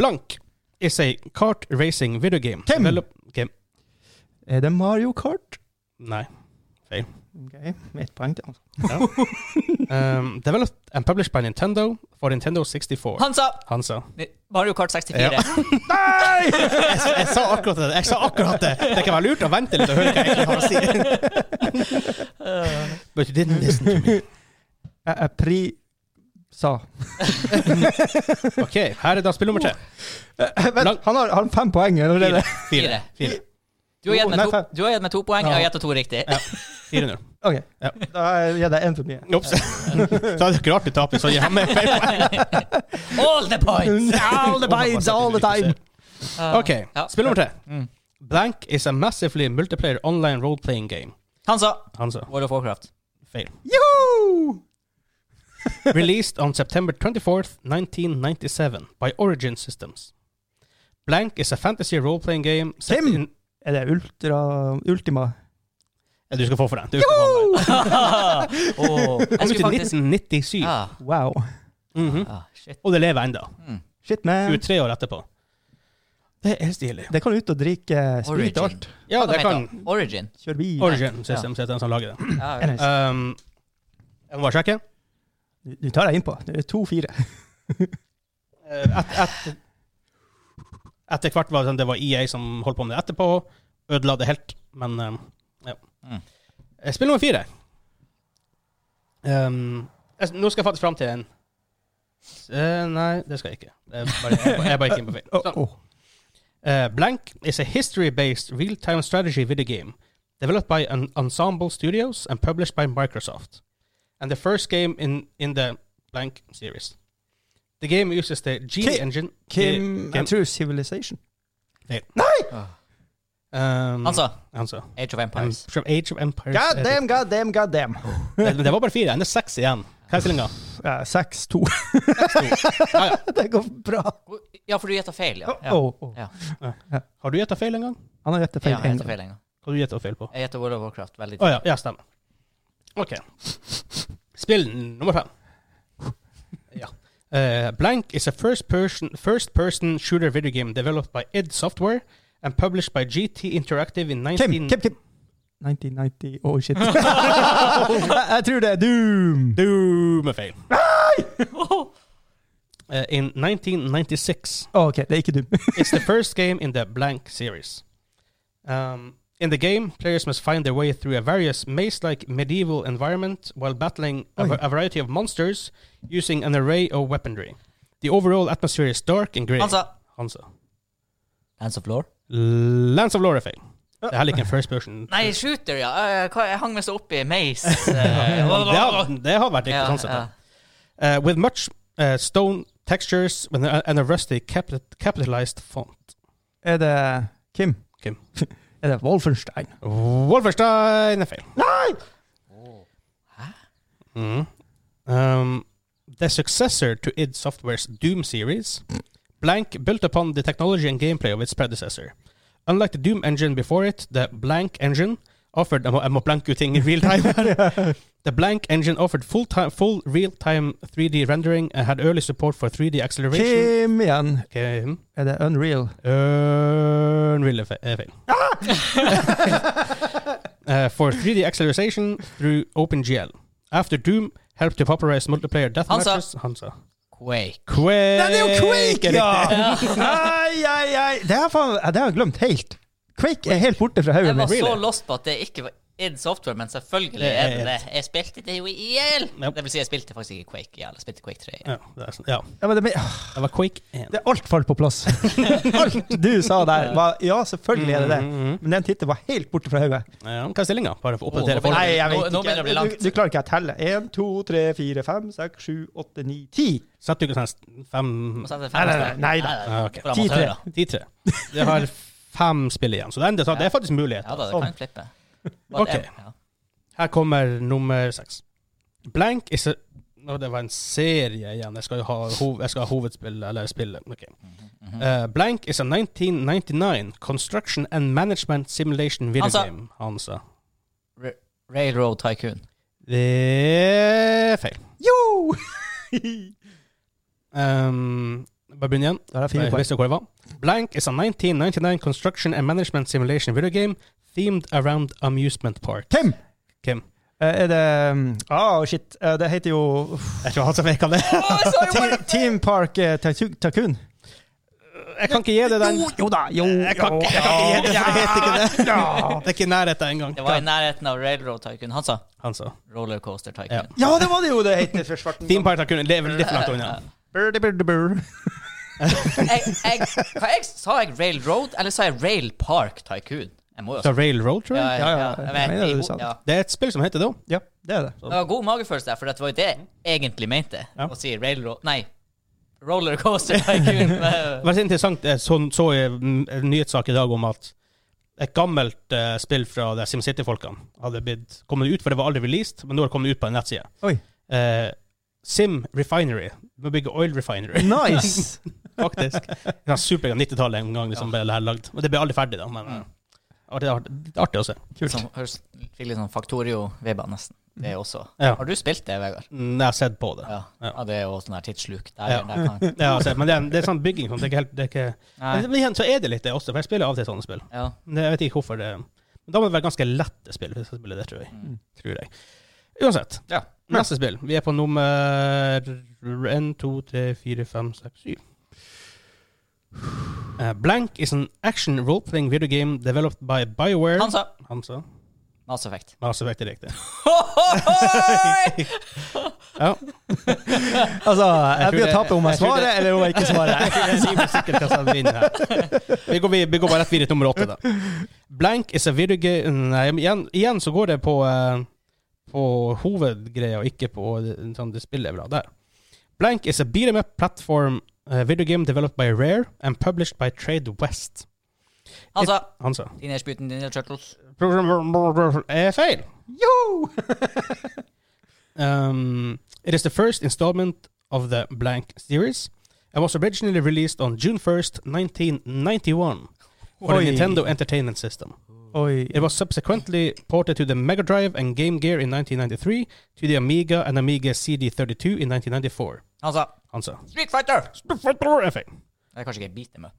Speaker 2: Blank is a kart racing video game.
Speaker 3: Kim.
Speaker 2: Develop- Kim.
Speaker 3: Er det Mario Kart?
Speaker 2: Nei. Feil.
Speaker 3: Ok, Ett poeng til altså. han.
Speaker 2: Um, developed and published by Nintendo for Nintendo 64.
Speaker 1: Han sa
Speaker 2: Han sa.
Speaker 1: Mario Kart 64.
Speaker 2: Ja. Jeg, jeg sa akkurat det. Jeg sa akkurat Det Det kan være lurt å vente litt og høre hva jeg egentlig har å si. But you didn't listen to me.
Speaker 3: Jeg, jeg pri... Sa.
Speaker 2: Ok, her er da spill nummer tre.
Speaker 3: Vent, han har, har fem poeng allerede.
Speaker 2: Fire. Fire. Fire.
Speaker 1: Du har gitt meg
Speaker 3: Nei,
Speaker 1: to,
Speaker 3: faen.
Speaker 1: du har gitt meg to poeng, jeg har
Speaker 2: Ja.
Speaker 1: gjettet to riktig.
Speaker 2: Ja. 400.
Speaker 3: Ok,
Speaker 2: Ja.
Speaker 3: da gir jeg én for mye.
Speaker 2: Ops. Så er det ikke rart du taper, så gir han meg feil poeng.
Speaker 1: All the points!
Speaker 3: All the vibes, all the time!
Speaker 1: Ah.
Speaker 2: Ok,
Speaker 1: Ja.
Speaker 2: spill nummer tre.
Speaker 1: Mm.
Speaker 2: Blank is a massively multiplayer online role-playing game.
Speaker 1: Han sa
Speaker 2: Han sa
Speaker 1: World of Warcraft.
Speaker 2: feil.
Speaker 3: Joho!
Speaker 2: Released on September 24th, 1997 by Origin Systems. Blank is a fantasy role-playing game set
Speaker 3: Kim!
Speaker 2: in-
Speaker 3: Er det ultra... Ultima?
Speaker 2: Ja, Du skal få for den. Du skal få den.
Speaker 1: Åh,
Speaker 2: Kom
Speaker 1: Jeg
Speaker 2: ut i
Speaker 1: skulle faktisk
Speaker 2: 1997,
Speaker 1: ah,
Speaker 3: Wow.
Speaker 2: Mhm.
Speaker 1: ah, shit.
Speaker 2: og det lever enda.
Speaker 1: Mm.
Speaker 3: Shit, man.
Speaker 2: 23 år etterpå. Det er stilig.
Speaker 3: Det kan ut og drikke sprit og
Speaker 1: Origin.
Speaker 3: alt.
Speaker 2: Ja,
Speaker 1: Hva
Speaker 2: det
Speaker 1: heter
Speaker 2: kan
Speaker 1: han? Origin.
Speaker 3: Kjør bil.
Speaker 2: Origin Systems heter den som lager det.
Speaker 1: Ja,
Speaker 3: Er det-
Speaker 2: Um, jeg må bare sjekke.
Speaker 3: Du du tar deg innpå. Det er to-fire.
Speaker 2: Eh, et, et, etter hvert var det sånn, det var EA som holdt på med det etterpå. Ødela det helt, men eh, ja.
Speaker 1: Mm.
Speaker 2: Eh, Spill nummer fire. Um, jeg, nå skal jeg faktisk fram til en Eh, Nei, det skal jeg ikke. Jeg er bare, jeg er bare- jeg er bare ikke inne på feil. Sånn.
Speaker 3: Å, å.
Speaker 2: Eh, Blank is a history-based real-time strategy video game developed by an Ensemble Studios and published by Microsoft, and the first game in in the Blank series. The game uses the Genie
Speaker 3: Ki-
Speaker 2: engine. Eh,
Speaker 3: Kim,
Speaker 2: Kim.
Speaker 3: jeg tror Civilization.
Speaker 1: Ah.
Speaker 2: Um,
Speaker 1: Han sa
Speaker 2: altså.
Speaker 1: Age of Empires.
Speaker 2: From Age of Empires.
Speaker 3: God damn, god damn, god damn.
Speaker 2: det, det var bare fire. Det er seks igjen. Hva er stillinga?
Speaker 3: Ja, 6-2.
Speaker 2: Ja, ja.
Speaker 3: det går bra.
Speaker 1: Mm. Ja, for du gjetta feil, ja. ja.
Speaker 3: Å, å.
Speaker 2: Har du gjetta feil en gang?
Speaker 3: Han har gjettet
Speaker 1: ja
Speaker 3: Oh, feil
Speaker 1: jeg
Speaker 3: en
Speaker 1: gjetta
Speaker 3: gang.
Speaker 1: feil en gang.
Speaker 2: Hva har du gjetta feil på? Å
Speaker 1: Jeg gjetta World of Warcraft veldig
Speaker 2: ja. ja, stemmer. OK. Spill nummer fem. Ja. Eh, Blank is a first person, first person shooter video game developed by id Software and published by GT Interactive in 19...
Speaker 3: Kim, Kim, Kim. 1990 Oh, shit. jeg, jeg tror det er Doom.
Speaker 2: Du med feil. Eh, in 1996.
Speaker 3: Å, OK, det er ikke Doom.
Speaker 2: It's the first game in the blank series. Um, in the game, players must find their way through a various maze-like medieval environment while battling a,
Speaker 3: Oi.
Speaker 2: va- a variety of monsters using an array of weaponry. The overall atmosphere is dark and grey.
Speaker 1: Han sa
Speaker 2: Hansa.
Speaker 1: Hands of Law.
Speaker 2: Lands of Lorifay.
Speaker 1: Oh.
Speaker 2: Det her er ikke en first person.
Speaker 1: Nei, Shooter, ja. Eh, hva- Jeg hang meg så opp i Maze.
Speaker 2: Det
Speaker 1: eh,
Speaker 2: har, det har vært riktig
Speaker 1: Ja,
Speaker 2: sånn sett.
Speaker 1: ja.
Speaker 2: Uh, with much uh, stone textures with a- and a rusty capi- capitalized font.
Speaker 3: Er det Kim?
Speaker 2: Kim.
Speaker 3: er det Wolfenstein?
Speaker 2: Wolfenstein er feil. Mm. Um, the successor to id Software's Doom series, Blank built upon the technology and gameplay of its predecessor. Unlike the Doom engine before it, the Blank engine offered Jeg må, jeg må blanke ut ting i real time. her. The Blank Engine offered full, time, full real-time 3D rendering and had early support for 3D acceleration.
Speaker 3: Kim igjen.
Speaker 2: Okay. hmm.
Speaker 3: Er det Unreal?
Speaker 2: Unreal er fe- er feil.
Speaker 3: Ah!
Speaker 2: Uh, for 3D acceleration through OpenGL. After Doom helped to popularize multiplayer death
Speaker 1: Hansa.
Speaker 2: matches. Hansa.
Speaker 1: Quake.
Speaker 2: Quake!
Speaker 3: Den er jo Quake, ja!
Speaker 1: Ja.
Speaker 3: Eh, Ai, ai, ai. Det har faen- det har jeg glemt helt. Quake er helt borte fra hodet
Speaker 1: Jeg var
Speaker 3: mitt.
Speaker 1: så
Speaker 2: Really?
Speaker 1: lost på at det ikke var id Software, men selvfølgelig
Speaker 2: Det er
Speaker 1: er det
Speaker 2: id.
Speaker 1: det. Jeg spilte det jo i hjel!
Speaker 2: Yep.
Speaker 1: Det vil si, jeg spilte faktisk ikke Quake i hjel. Jeg spilte Quake 3 i hjel.
Speaker 2: Ja, det er sånn. ja,
Speaker 3: Ja, men det, åh,
Speaker 2: det var Quake 1.
Speaker 3: det, alt falt på plass. alt du sa der, var Ja, selvfølgelig er det det. Men den tittelen var helt borte fra hodet.
Speaker 2: Ja, hva er stillinga? Bare for å oppdatere
Speaker 1: Å,
Speaker 2: folk.
Speaker 1: nei.
Speaker 3: jeg
Speaker 1: nå- nå begynner det å bli langt.
Speaker 3: Du, du klarer ikke å telle. Én, to, tre, fire, fem, seks, sju, åtte, ni, ti.
Speaker 2: Satt du ikke sånn fem
Speaker 1: Og så hadde jeg fem stjerner.
Speaker 3: Nei, nei, nei, nei da.
Speaker 2: Ah, ok.
Speaker 1: For
Speaker 3: 10-3.
Speaker 1: amatører.
Speaker 2: Ti-tre. Det har fem spill igjen, så det er enda- det er faktisk mulighet.
Speaker 1: Ja da, det
Speaker 3: Sånn.
Speaker 1: kan flippe. Bare
Speaker 2: Ok.
Speaker 1: en, ja.
Speaker 2: Her kommer nummer seks. Blank is a Nå, det var en serie igjen. Jeg skal jo ha, hov, jeg skal ha hovedspillet, eller spillet. Ok.
Speaker 1: Mhm,
Speaker 2: Eh, Blank is a 1999 construction and management simulation video
Speaker 1: Hansa.
Speaker 2: game. Hansa.
Speaker 1: Ra- Railroad Tycoon.
Speaker 2: Det er feil.
Speaker 3: Jo!
Speaker 2: Um, bare begynn igjen.
Speaker 3: Da er det fire
Speaker 2: Jeg
Speaker 3: poeng.
Speaker 2: visste hvor jeg var. Blank is a 1999 construction and management simulation video game themed around amusement park.
Speaker 3: Kim!
Speaker 2: Kim.
Speaker 3: Eh, Er det Å, shit. Eh, Det heter jo uff,
Speaker 2: Jeg tror han som fikk av det.
Speaker 3: Te- Team Park eh, Tycoon- Tycoon.
Speaker 2: Jeg kan ikke gi det den.
Speaker 3: Jo, jo da, jo.
Speaker 2: Jeg kan, ikke- jeg kan ikke gi det, for jeg vet ikke det.
Speaker 3: Ja.
Speaker 2: Det er ikke i nærheten engang.
Speaker 1: Det var i nærheten av Railroad Tycoon. Han sa
Speaker 2: Han sa.
Speaker 1: Rollercoaster Tycoon.
Speaker 3: ja, det var det jo det het for svarten.
Speaker 2: Theme Park Tycoon, det er vel litt for langt unna.
Speaker 3: Birdie, birdie, bird.
Speaker 1: Jeg, jeg, hva jeg, sa jeg Railroad, eller sa jeg Rail Park Tycoon? Jeg må jo
Speaker 2: Så Railroad, tror jeg.
Speaker 3: Ja, ja, ja.
Speaker 1: Jeg
Speaker 3: Jeg
Speaker 1: vet,
Speaker 3: mener
Speaker 1: i
Speaker 3: det du
Speaker 1: ho-
Speaker 3: sa.
Speaker 1: ja.
Speaker 2: Det er et spill som heter det òg.
Speaker 3: Ja, det er det.
Speaker 1: Det var god magefølelse der, for det var jo det jeg egentlig mente.
Speaker 2: Ja.
Speaker 1: Å si railroad Nei, rollercoaster tycoon.
Speaker 2: Det var interessant, jeg så, så jeg en nyhetssak i dag om at et gammelt eh, spill fra de SimCity-folkene hadde blitt kommet ut, for det var aldri released, men nå har det kommet ut på en nettside.
Speaker 3: Oi.
Speaker 2: Eh, Sim Refinery. Må bygge oil refinery,
Speaker 3: Nice!
Speaker 2: faktisk. Det var super 90-tallet en gang liksom, ble det her lagd. Og det ble aldri ferdig, da, men eh, artig, artig, artig å se.
Speaker 3: Kult.
Speaker 1: Som høres fikk litt sånn Factorio-vibber, nesten. Det er også.
Speaker 2: Ja.
Speaker 1: Har du spilt det, Vegard?
Speaker 2: Mm, Jeg har sett på det.
Speaker 1: Ja.
Speaker 2: Ja.
Speaker 1: ja det er jo sånn her tidssluk. Der,
Speaker 2: Ja.
Speaker 1: der kan,
Speaker 2: Jeg har sett, men det er, det er sånn bygging sånn, det er ikke helt det er ikke,
Speaker 1: nei.
Speaker 2: Men igjen så er det litt det også, for jeg spiller av og til sånne spill.
Speaker 1: Ja.
Speaker 2: Men jeg vet ikke hvorfor det Men da må det være ganske lette spill, hvis jeg spiller det, tror jeg.
Speaker 1: Mm.
Speaker 2: Tror jeg. Uansett.
Speaker 1: Ja.
Speaker 2: Neste spill. Vi er på nummer 1, 2, 3, 4, 5, 6, 7. Uh, Blank is an action role-playing video game developed by BioWare
Speaker 1: Han sa
Speaker 2: Hansa.
Speaker 1: Mass Effect.
Speaker 2: Mass Effect er riktig.
Speaker 1: Hohoi!
Speaker 2: Ja.
Speaker 3: Altså, jeg
Speaker 2: tror
Speaker 3: blir å
Speaker 2: det-
Speaker 3: tape om jeg
Speaker 2: jeg tror
Speaker 3: svarer
Speaker 2: det-
Speaker 3: eller om jeg ikke svarer.
Speaker 2: Jeg sier meg sikkert hva som vinner her. Vi går, vi, vi går bare rett videre til nummer åtte, da. Blank is a video game Nei, men igjen, igjen så går det på, eh, på hovedgreia, og ikke på det- sånn det spillet er bra der. Blank is a beat 'em up platform eh, video game developed by Rare and published by Trade West.
Speaker 1: Han sa
Speaker 2: Han sa
Speaker 1: Teenage Mutant Ninja Turtles.
Speaker 2: Er feil.
Speaker 3: Jo!
Speaker 2: Um, it is the first installment of the Blank series and was originally released on June 1st, 1991 for
Speaker 3: Oi.
Speaker 2: the Nintendo Entertainment System.
Speaker 3: Oi.
Speaker 2: It was subsequently ported to the Mega Drive and Game Gear in 1993, to the Amiga and Amiga CD32 in 1994.
Speaker 1: Han sa
Speaker 2: Altså
Speaker 1: Street Fighter!
Speaker 2: FA.
Speaker 1: Det er kanskje ikke Beat Them Up.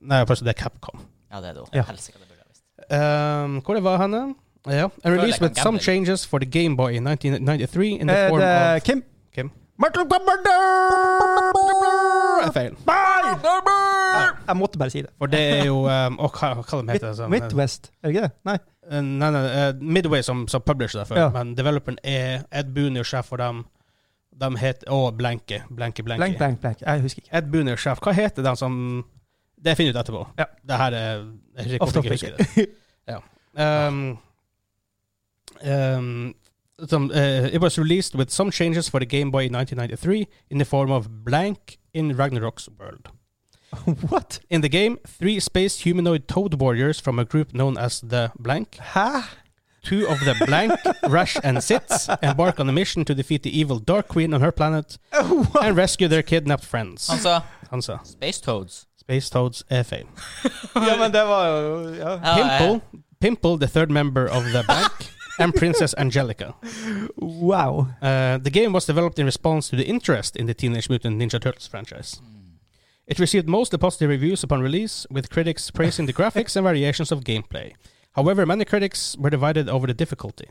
Speaker 2: Nei, først det er Capcom.
Speaker 1: Ja, det er det.
Speaker 3: Ja.
Speaker 1: Ja. Helsike, det burde jeg visst.
Speaker 2: Um, hvor det var henne? Ja. And
Speaker 1: Føler jeg
Speaker 2: released
Speaker 1: kan
Speaker 2: with some
Speaker 1: gamble.
Speaker 2: changes for the Game Boy in 1993 in the
Speaker 3: Er
Speaker 2: form
Speaker 3: det
Speaker 2: of
Speaker 3: Kim?
Speaker 2: Kim.
Speaker 3: Mortal Kombat! Nei!
Speaker 2: Feil.
Speaker 3: Jeg måtte bare si det.
Speaker 2: For det er jo um, å, hva, hva de heter
Speaker 3: sånn-
Speaker 2: det?
Speaker 3: Midtwest, er det ikke det? Nei.
Speaker 2: Eh, Nei, nei, eh, Midway som, som publisher derfor,
Speaker 3: Ja.
Speaker 2: men developeren er Ed Boone er sjef for dem. De heter Å, Blanke. Blanke, Blanke.
Speaker 3: Blank, blank, blank. Jeg husker ikke.
Speaker 2: Ed Boone er sjef. Hva heter den som Det finner vi ut etterpå.
Speaker 3: Ja.
Speaker 2: Det her er Jeg husker ikke
Speaker 3: Off
Speaker 2: hvorfor jeg ikke husker det. Ja. Um, um, some, eh, it was released with some changes for the Game Boy in 1993 in the form of Blank in Ragnarok's world.
Speaker 3: What?
Speaker 2: In the game, three space humanoid toad warriors from a group known as the Blank
Speaker 3: Hæ?
Speaker 2: Two of the blank rush and sits embark on a mission to defeat the evil Dark Queen on her planet and rescue their kidnapped friends.
Speaker 1: Han sa
Speaker 2: Han sa
Speaker 1: Space Toads.
Speaker 2: Space Toads er feil.
Speaker 3: Ja, men det var jo ja.
Speaker 1: Ja,
Speaker 2: Pimple, Pimple, the third member of the bank, and Princess Angelica.
Speaker 3: Wow.
Speaker 2: Uh, the game was developed in response to the interest in the Teenage Mutant Ninja Turtles franchise. It received mostly positive reviews upon release, with critics praising the graphics and variations of gameplay. However, many critics were divided over the difficulty.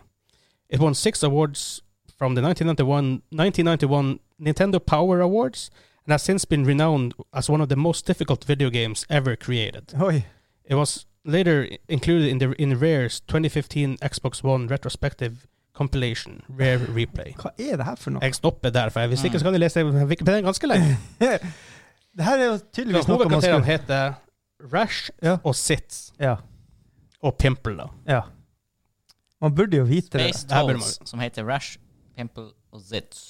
Speaker 2: It won six awards from the 1991, 1991 Nintendo Power Awards and has since been renowned as one of the most difficult video games ever created.
Speaker 3: Oi.
Speaker 2: It was later i- included in the in Rare's 2015 Xbox One retrospective compilation, Rare Replay.
Speaker 3: Hva er det her for noe?
Speaker 2: Jeg stopper der, for hvis ikke så kan jeg lese Wikipedia ganske lenge.
Speaker 3: Det her er jo tydeligvis noe man
Speaker 2: Hovedkarakterene
Speaker 3: skulle
Speaker 2: heter Rash
Speaker 3: Ja.
Speaker 2: og Sitz
Speaker 3: ja,
Speaker 2: og Pimple, da.
Speaker 3: ja. Man burde jo vite det.
Speaker 1: Space
Speaker 2: Det her burde
Speaker 1: Toads, som heter Rash, Pimple og Zitz.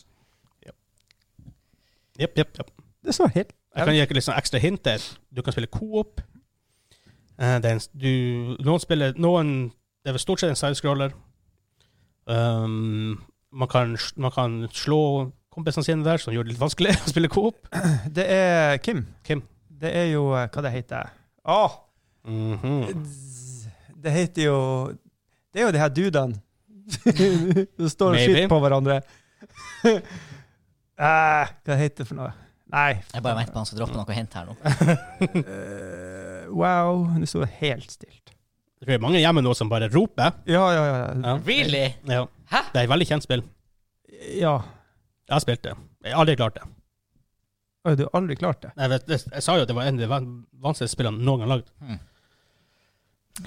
Speaker 2: Jep, jep, jep.
Speaker 3: Det står helt
Speaker 2: Jeg kan gi dere litt sånn ekstra hint der. Du kan spille coop. Eh, det er en, s- du, noen spiller noen, Det er vel stort sett en sidescroller. Um, man, kan, s- man kan slå kompisene sine der, som gjør det litt vanskelig å spille coop.
Speaker 3: Det er Kim.
Speaker 2: Kim.
Speaker 3: Det er jo eh, Hva det heter det? Åh,
Speaker 2: Mhm.
Speaker 3: Det heter jo Det er jo de her dudene. som står og
Speaker 2: Maybe.
Speaker 3: skyter på hverandre. Eh, hva heter det for noe? Nei.
Speaker 1: Jeg bare venter på han skal droppe noe hint her nå.
Speaker 3: Eh, wow. Nå sto det helt stilt.
Speaker 2: Jeg tror det er mange hjemme nå som bare roper.
Speaker 3: Ja, ja, ja.
Speaker 2: Ja.
Speaker 1: Really?
Speaker 2: Ja.
Speaker 1: Hæ?
Speaker 2: Det er et veldig kjent spill.
Speaker 3: ja.
Speaker 2: Jeg har spilt det. Jeg har aldri klart det.
Speaker 3: Oi, du har aldri klart det.
Speaker 2: Jeg, vet, jeg, jeg sa jo at det var en av de van- vanskeligste spillene noen gang lagd.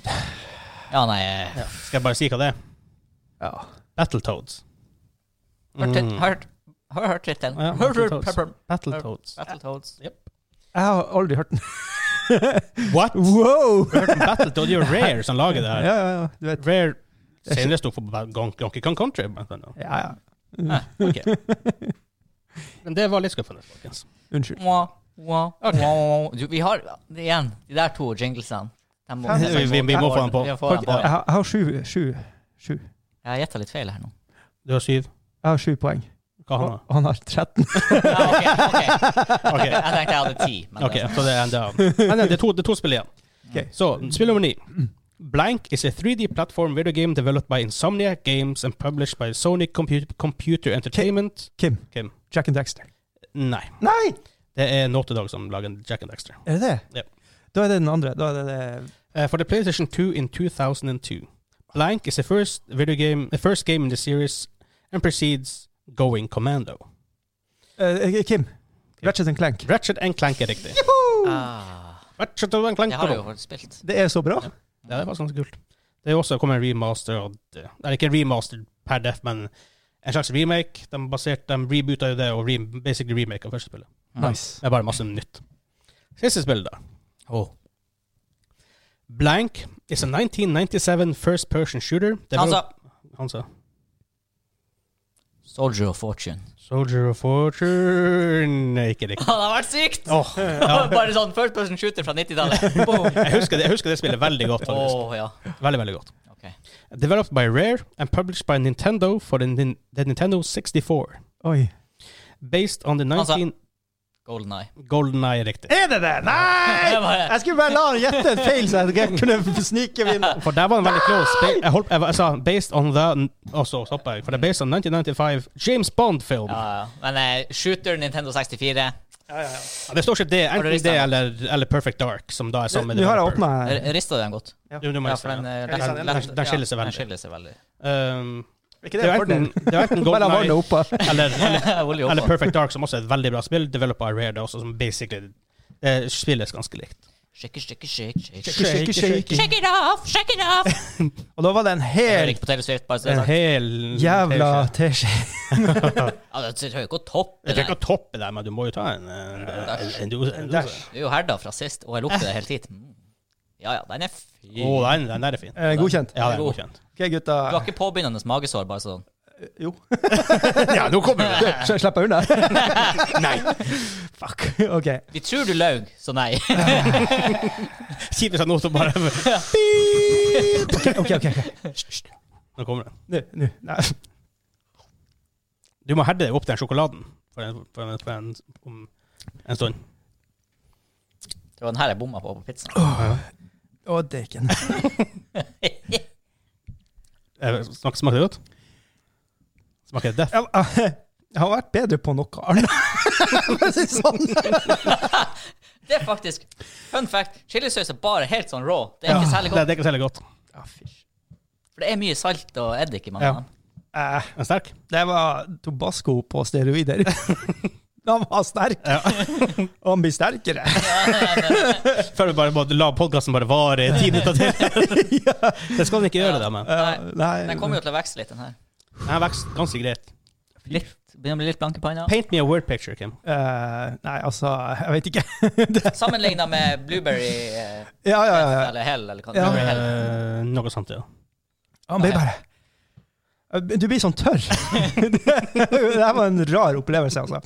Speaker 1: Ja, nei eh,
Speaker 2: Skal jeg bare si hva det er?
Speaker 3: Ja.
Speaker 2: Battletoads.
Speaker 1: Hørt
Speaker 2: Mm.
Speaker 1: tit- hørt- Har hørt tittelen.
Speaker 2: Ja,
Speaker 1: Hørt- hørt-
Speaker 2: Battletoads.
Speaker 1: pepper-
Speaker 2: Battletoads.
Speaker 1: Battletoads.
Speaker 3: Jeg har aldri hørt den.
Speaker 2: What?
Speaker 3: Wow!
Speaker 2: Hørt om Battletoads? Det er jo Rare som lager det
Speaker 3: Ja,
Speaker 2: her.
Speaker 3: ja, ja. Du vet.
Speaker 2: Rare senere sto for Ba- Gon- Donkey Kong Country. blant annet.
Speaker 3: Ja, ja.
Speaker 2: Ok. Men det var litt skuffende, folkens.
Speaker 3: Unnskyld.
Speaker 1: Mwah, mwah, mwah, mwah. Du, Vi har igjen de der to jinglesene. De må-
Speaker 3: Vi-
Speaker 2: vi- vi må få den på.
Speaker 1: Vi må få den
Speaker 3: Folk,
Speaker 1: på.
Speaker 3: jeg, har, jeg har sju, sju, sju.
Speaker 1: Jeg har gjetta litt feil her nå.
Speaker 2: Du har syv.
Speaker 3: Jeg har sju poeng.
Speaker 2: Hva har han?
Speaker 3: Og han har 13.
Speaker 1: Ja, ok, ok.
Speaker 2: Ok.
Speaker 1: Jeg tenkte jeg hadde ti. Men
Speaker 2: Ok,
Speaker 1: det, sånn.
Speaker 2: så det er enda Nei, nei, det er to, det er to spill igjen.
Speaker 3: Ok.
Speaker 2: Så, spill nummer ni. Blank is a 3D platform video game developed by Insomniac Games and published by Sony Compu- Computer Entertainment.
Speaker 3: Kim.
Speaker 2: Kim.
Speaker 3: Jack and Dexter.
Speaker 2: Nei.
Speaker 3: Nei!
Speaker 2: Det er Naughty Dog som lager Jack and Dexter.
Speaker 3: Er det det?
Speaker 2: Ja.
Speaker 3: Da er det den andre. Da er det det
Speaker 2: Uh, for the PlayStation 2 in 2002, Blank is the first video game, the first game in the series, and precedes Going Commando.
Speaker 3: Eh, Kim. Ratchet and Clank.
Speaker 2: Ratchet and Clank er riktig.
Speaker 1: ah,
Speaker 2: Ratchet and Clank.
Speaker 1: det har du jo
Speaker 2: Ja,
Speaker 1: faktisk spilt.
Speaker 3: Det er så bra.
Speaker 2: det er faktisk ganske kult. Det er også kommet en remaster av det. Eller ikke en remaster per def, men en slags remake. De, basert, de rebootet jo det, og re, basically remake av første spillet.
Speaker 3: Nice.
Speaker 2: Det er bare masse nytt. Siste spill, da.
Speaker 1: Oh.
Speaker 2: Blank is a 1997 first-person shooter.
Speaker 1: Han sa
Speaker 2: developed- Han sa.
Speaker 1: Soldier of Fortune.
Speaker 2: Soldier of Fortune Nei, Ikke riktig.
Speaker 1: Det hadde vært sykt!
Speaker 2: Åh, ja.
Speaker 1: Bare sånn first person shooter fra 90-tallet. Boom.
Speaker 2: jeg, husker det, jeg husker det spillet veldig godt. faktisk.
Speaker 1: Åh, ja.
Speaker 2: Veldig, veldig godt.
Speaker 1: Ok.
Speaker 2: Developed by Rare and published by Nintendo for the, Nin- the Nintendo 64.
Speaker 3: Oi.
Speaker 2: Based on the 19...
Speaker 1: Altså- Golden Eye.
Speaker 2: Golden Eye, riktig.
Speaker 3: Er det det? Nei!
Speaker 1: Jeg bare-
Speaker 3: Jeg skulle bare la han gjette en feil, så jeg kunne snike vinne.
Speaker 2: For der var den veldig close. Ba- Jeg, holdt, jeg, var- jeg sa based on the... Og så stoppet jeg. For det er based on 1995 James Bond-film.
Speaker 1: Ja,
Speaker 2: Ja.
Speaker 1: ja. Men eh, shooter Nintendo 64.
Speaker 2: Det står ikke det.
Speaker 1: du
Speaker 2: Enten
Speaker 1: ristet
Speaker 2: det
Speaker 1: den?
Speaker 2: eller, eller Perfect Dark, som da er samme
Speaker 3: Nå har jeg
Speaker 2: developer.
Speaker 3: åpna.
Speaker 1: R- Rister du den godt?
Speaker 2: Du, du må
Speaker 1: Ja,
Speaker 2: riste
Speaker 1: for den,
Speaker 2: den,
Speaker 1: eh,
Speaker 2: ja.
Speaker 1: lett-
Speaker 2: Den-
Speaker 1: lett-
Speaker 2: den- Den skiller seg
Speaker 1: ja, den
Speaker 2: veldig.
Speaker 1: skiller seg veldig.
Speaker 2: Um,
Speaker 3: Ikke
Speaker 2: det er jo enten, det er jo enten
Speaker 3: Bare
Speaker 2: Golden
Speaker 3: la
Speaker 2: Eye
Speaker 3: vannet opp her.
Speaker 2: eller, eller
Speaker 1: Olje
Speaker 2: Eller
Speaker 1: oppå.
Speaker 2: Perfect Dark, som også er et veldig bra spill. Developa Rare, det er også som basically eh, spilles ganske likt.
Speaker 1: Shake, it, shake, it, shake, shake, shake.
Speaker 3: Shake, shake, shake.
Speaker 1: Shake it off, shake it off!
Speaker 3: Og da var det en
Speaker 1: Jeg hører
Speaker 3: hel
Speaker 1: ikke på Taylor Swift, bare så det
Speaker 2: En
Speaker 1: er sagt.
Speaker 2: hel
Speaker 3: jævla teskje.
Speaker 1: Ja, det det hører jo ikke å toppe det.
Speaker 2: Jeg trenger ikke å toppe det, men du må jo ta en eh, En, en, en dose. En dose.
Speaker 1: Du er jo herda fra sist, og jeg lukter det hele tiden. Mm. Ja ja, den er fin.
Speaker 2: Å, den, den der er fin.
Speaker 3: Eh, Godkjent.
Speaker 2: Ja, den er godkjent.
Speaker 3: OK,
Speaker 1: Du har
Speaker 3: gutta.
Speaker 1: ikke påbegynnende magesår, bare sånn.
Speaker 3: Jo.
Speaker 2: Ja, nå kommer det!
Speaker 3: Sl- Slipper jeg unna?
Speaker 2: Nei!
Speaker 3: Fuck. OK.
Speaker 1: Vi tror du løy, så nei.
Speaker 2: Kjipt hvis jeg nå så bare
Speaker 3: OK, OK. ok, ok.
Speaker 2: Nå kommer det.
Speaker 3: Nå. nå. Nei.
Speaker 2: Du må herde deg opp den sjokoladen for en, for en, for en, om en stund.
Speaker 1: Det var den her jeg bomma på på pizzaen.
Speaker 3: Å, dæken.
Speaker 2: Eh, Smaker smaker det godt? Smaker det death?
Speaker 3: Jeg, jeg, ah, jeg har vært bedre på noe annet. For å si det sånn.
Speaker 1: Det er faktisk Fun fact. Chilisaus er bare helt sånn raw. Det er
Speaker 2: Ja,
Speaker 1: ikke særlig
Speaker 2: Det,
Speaker 1: godt.
Speaker 2: det er ikke særlig godt.
Speaker 3: Ja, Ah, fysj.
Speaker 1: For det er mye salt og eddik i mange
Speaker 2: Ja.
Speaker 1: av dem.
Speaker 3: Eh,
Speaker 2: Den er sterk.
Speaker 3: det var tobasco på steroider. Han var sterk,
Speaker 2: Ja.
Speaker 3: og han blir sterkere.
Speaker 2: Før vi bare må la podkasten bare vare i ti minutter til. Det skal den ikke gjøre, det men.
Speaker 3: Eh, nei,
Speaker 1: Den kommer jo til å vekse litt, den her.
Speaker 2: Den vokser ganske greit.
Speaker 1: Litt, begynner å bli litt blank i panna.
Speaker 2: Paint me a word picture, Kim.
Speaker 3: Eh, nei, altså, jeg vet ikke.
Speaker 1: Sammenligna med blueberry eh,
Speaker 3: Ja, ja, ja. ja.
Speaker 1: eller hell, eller hva
Speaker 3: Ja.
Speaker 1: blueberry hell.
Speaker 2: Eh, noe sånt, ja.
Speaker 3: Han blir bare Du blir sånn tørr. det her var en rar opplevelse, altså.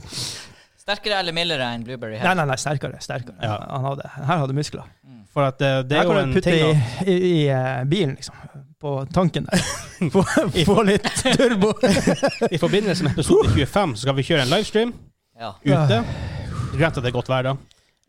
Speaker 1: Sterkere eller mildere enn blueberry
Speaker 3: Nei,
Speaker 1: hell?
Speaker 3: nei, nei, sterkere. sterkere.
Speaker 2: Ja.
Speaker 3: Han hadde, her hadde muskler.
Speaker 2: For at eh, det
Speaker 3: Det
Speaker 2: er
Speaker 3: her
Speaker 2: jo
Speaker 3: kan
Speaker 2: en
Speaker 3: du putte
Speaker 2: ting
Speaker 3: i,
Speaker 2: at-
Speaker 3: i, i eh, bilen, liksom. På tanken der. Få, få litt turbo.
Speaker 2: I forbindelse med episode 25 så skal vi kjøre en livestream
Speaker 1: Ja.
Speaker 3: Ah.
Speaker 2: ute. Greit at det er godt vær, da.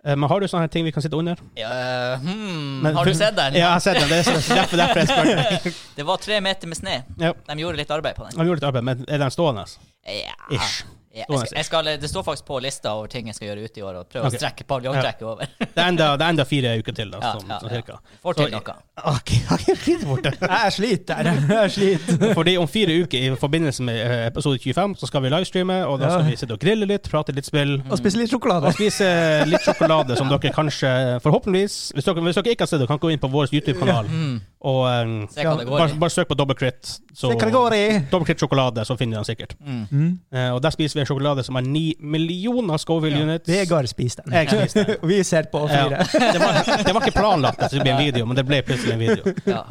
Speaker 2: Eh, Men har du sånne her ting vi kan sitte under?
Speaker 1: Ja, eh, hmm,
Speaker 2: Men-
Speaker 1: har du sett den?
Speaker 2: Ja, jeg har sett den. Det er så- derfor, derfor jeg spør deg.
Speaker 1: Det var tre meter med snø.
Speaker 2: Ja.
Speaker 1: De gjorde litt arbeid på den.
Speaker 2: Han gjorde litt arbeid, men er den stående?
Speaker 1: Ja.
Speaker 2: Ish.
Speaker 1: Ja, jeg skal, jeg skal, det står faktisk på lista over ting jeg skal gjøre ute i år, og prøve
Speaker 2: Ok.
Speaker 1: å strekke paviljongtrekket over.
Speaker 2: Det er enda, det er enda fire uker til, da,
Speaker 1: Ja,
Speaker 2: sånn,
Speaker 1: ja,
Speaker 2: sånn
Speaker 1: ja.
Speaker 2: cirka.
Speaker 1: Får til noe.
Speaker 2: Ok, ok, fint borte.
Speaker 3: Jeg sliter. Jeg sliter.
Speaker 2: Fordi om fire uker i forbindelse med eh, episode 25 så skal vi livestreame, og da skal
Speaker 3: Ja.
Speaker 2: vi sitte og grille litt, prate litt spill.
Speaker 3: Og spise litt sjokolade.
Speaker 2: Og spise litt sjokolade, som dere kanskje, forhåpentligvis Hvis dere, hvis dere ikke har sett det, kan gå inn på vår YouTube-kanal og eh,
Speaker 1: Mm. Se hva det går
Speaker 2: bare,
Speaker 1: i.
Speaker 2: bare søk på Double Crit. Så,
Speaker 3: Se hva det går i.
Speaker 2: Double Crit sjokolade, så finner du den sikkert.
Speaker 3: Mm.
Speaker 2: Eh, og der spiser vi en sjokolade som har ni millioner Scoville units.
Speaker 3: Vegard spiser den.
Speaker 2: Jeg spiser den.
Speaker 3: Vi ser på og
Speaker 2: Ja.
Speaker 3: flirer.
Speaker 2: Det, var, det var ikke planlagt at det skulle bli en video, men det ble plutselig en video.
Speaker 1: Ja.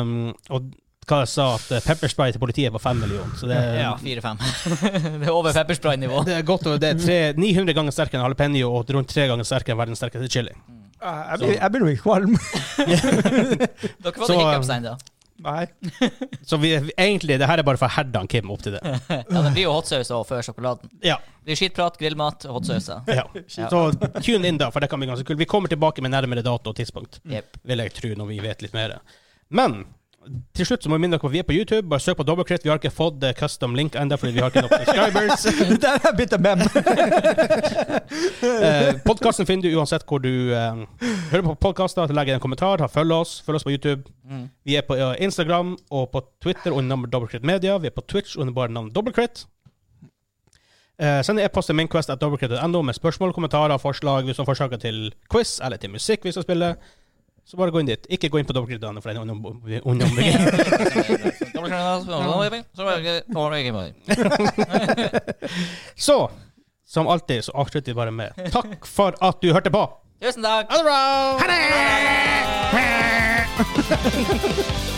Speaker 2: Um, og hva jeg sa, at eh, pepperspray til politiet var fem millioner. Så det, er-
Speaker 1: Ja, fire-fem. det er over pepperspray-nivå.
Speaker 2: det er godt. og Det er tre, 900 ganger sterkere enn jalapeño og rundt tre ganger sterkere enn verdens sterkeste chili.
Speaker 3: Jeg blir- jeg begynner å bli kvalm.
Speaker 1: Dere får
Speaker 2: Så, um,
Speaker 1: ikke hiccups ennå.
Speaker 3: Nei.
Speaker 2: Så vi, vi- egentlig, det her er bare for å herde han Kim opp til det.
Speaker 1: Ja, det blir jo hotsaus også før sjokoladen.
Speaker 2: Ja,
Speaker 1: Det blir skitprat, grillmat, hotsauser.
Speaker 2: ja. Så tune inn da, for det kan bli ganske kult. Vi kommer tilbake med nærmere dato og tidspunkt,
Speaker 1: Jep.
Speaker 2: vil jeg tro, når vi vet litt mer. Men til slutt så må vi minne dere på at vi er på YouTube. Bare søk på Dobbelkritt. Vi har ikke fått eh, custom link ennå, fordi vi har ikke nok subscribers.
Speaker 3: Det der er blitt en mem.
Speaker 2: Eh, podkasten finner du uansett hvor du eh, hører på podkaster. Legg igjen en kommentar, ha- følg oss, følg oss på YouTube.
Speaker 1: Mm.
Speaker 2: Vi er på eh, Instagram og på Twitter under navnet Dobbelkritt Media. Vi er på Twitch under bare navnet Dobbelkritt. Eh, send en e-post til minquest.dobbelkritt.no med spørsmål, kommentarer, forslag hvis du har forslag til quiz eller til musikk vi skal spille. Så bare gå inn dit. Ikke gå inn på dobbeltkritt.no, for det er en unom- unombygging. Så som alltid så avslutter vi bare med takk for at du hørte på.
Speaker 1: Tusen takk.
Speaker 2: Ha det bra!
Speaker 1: Ha det!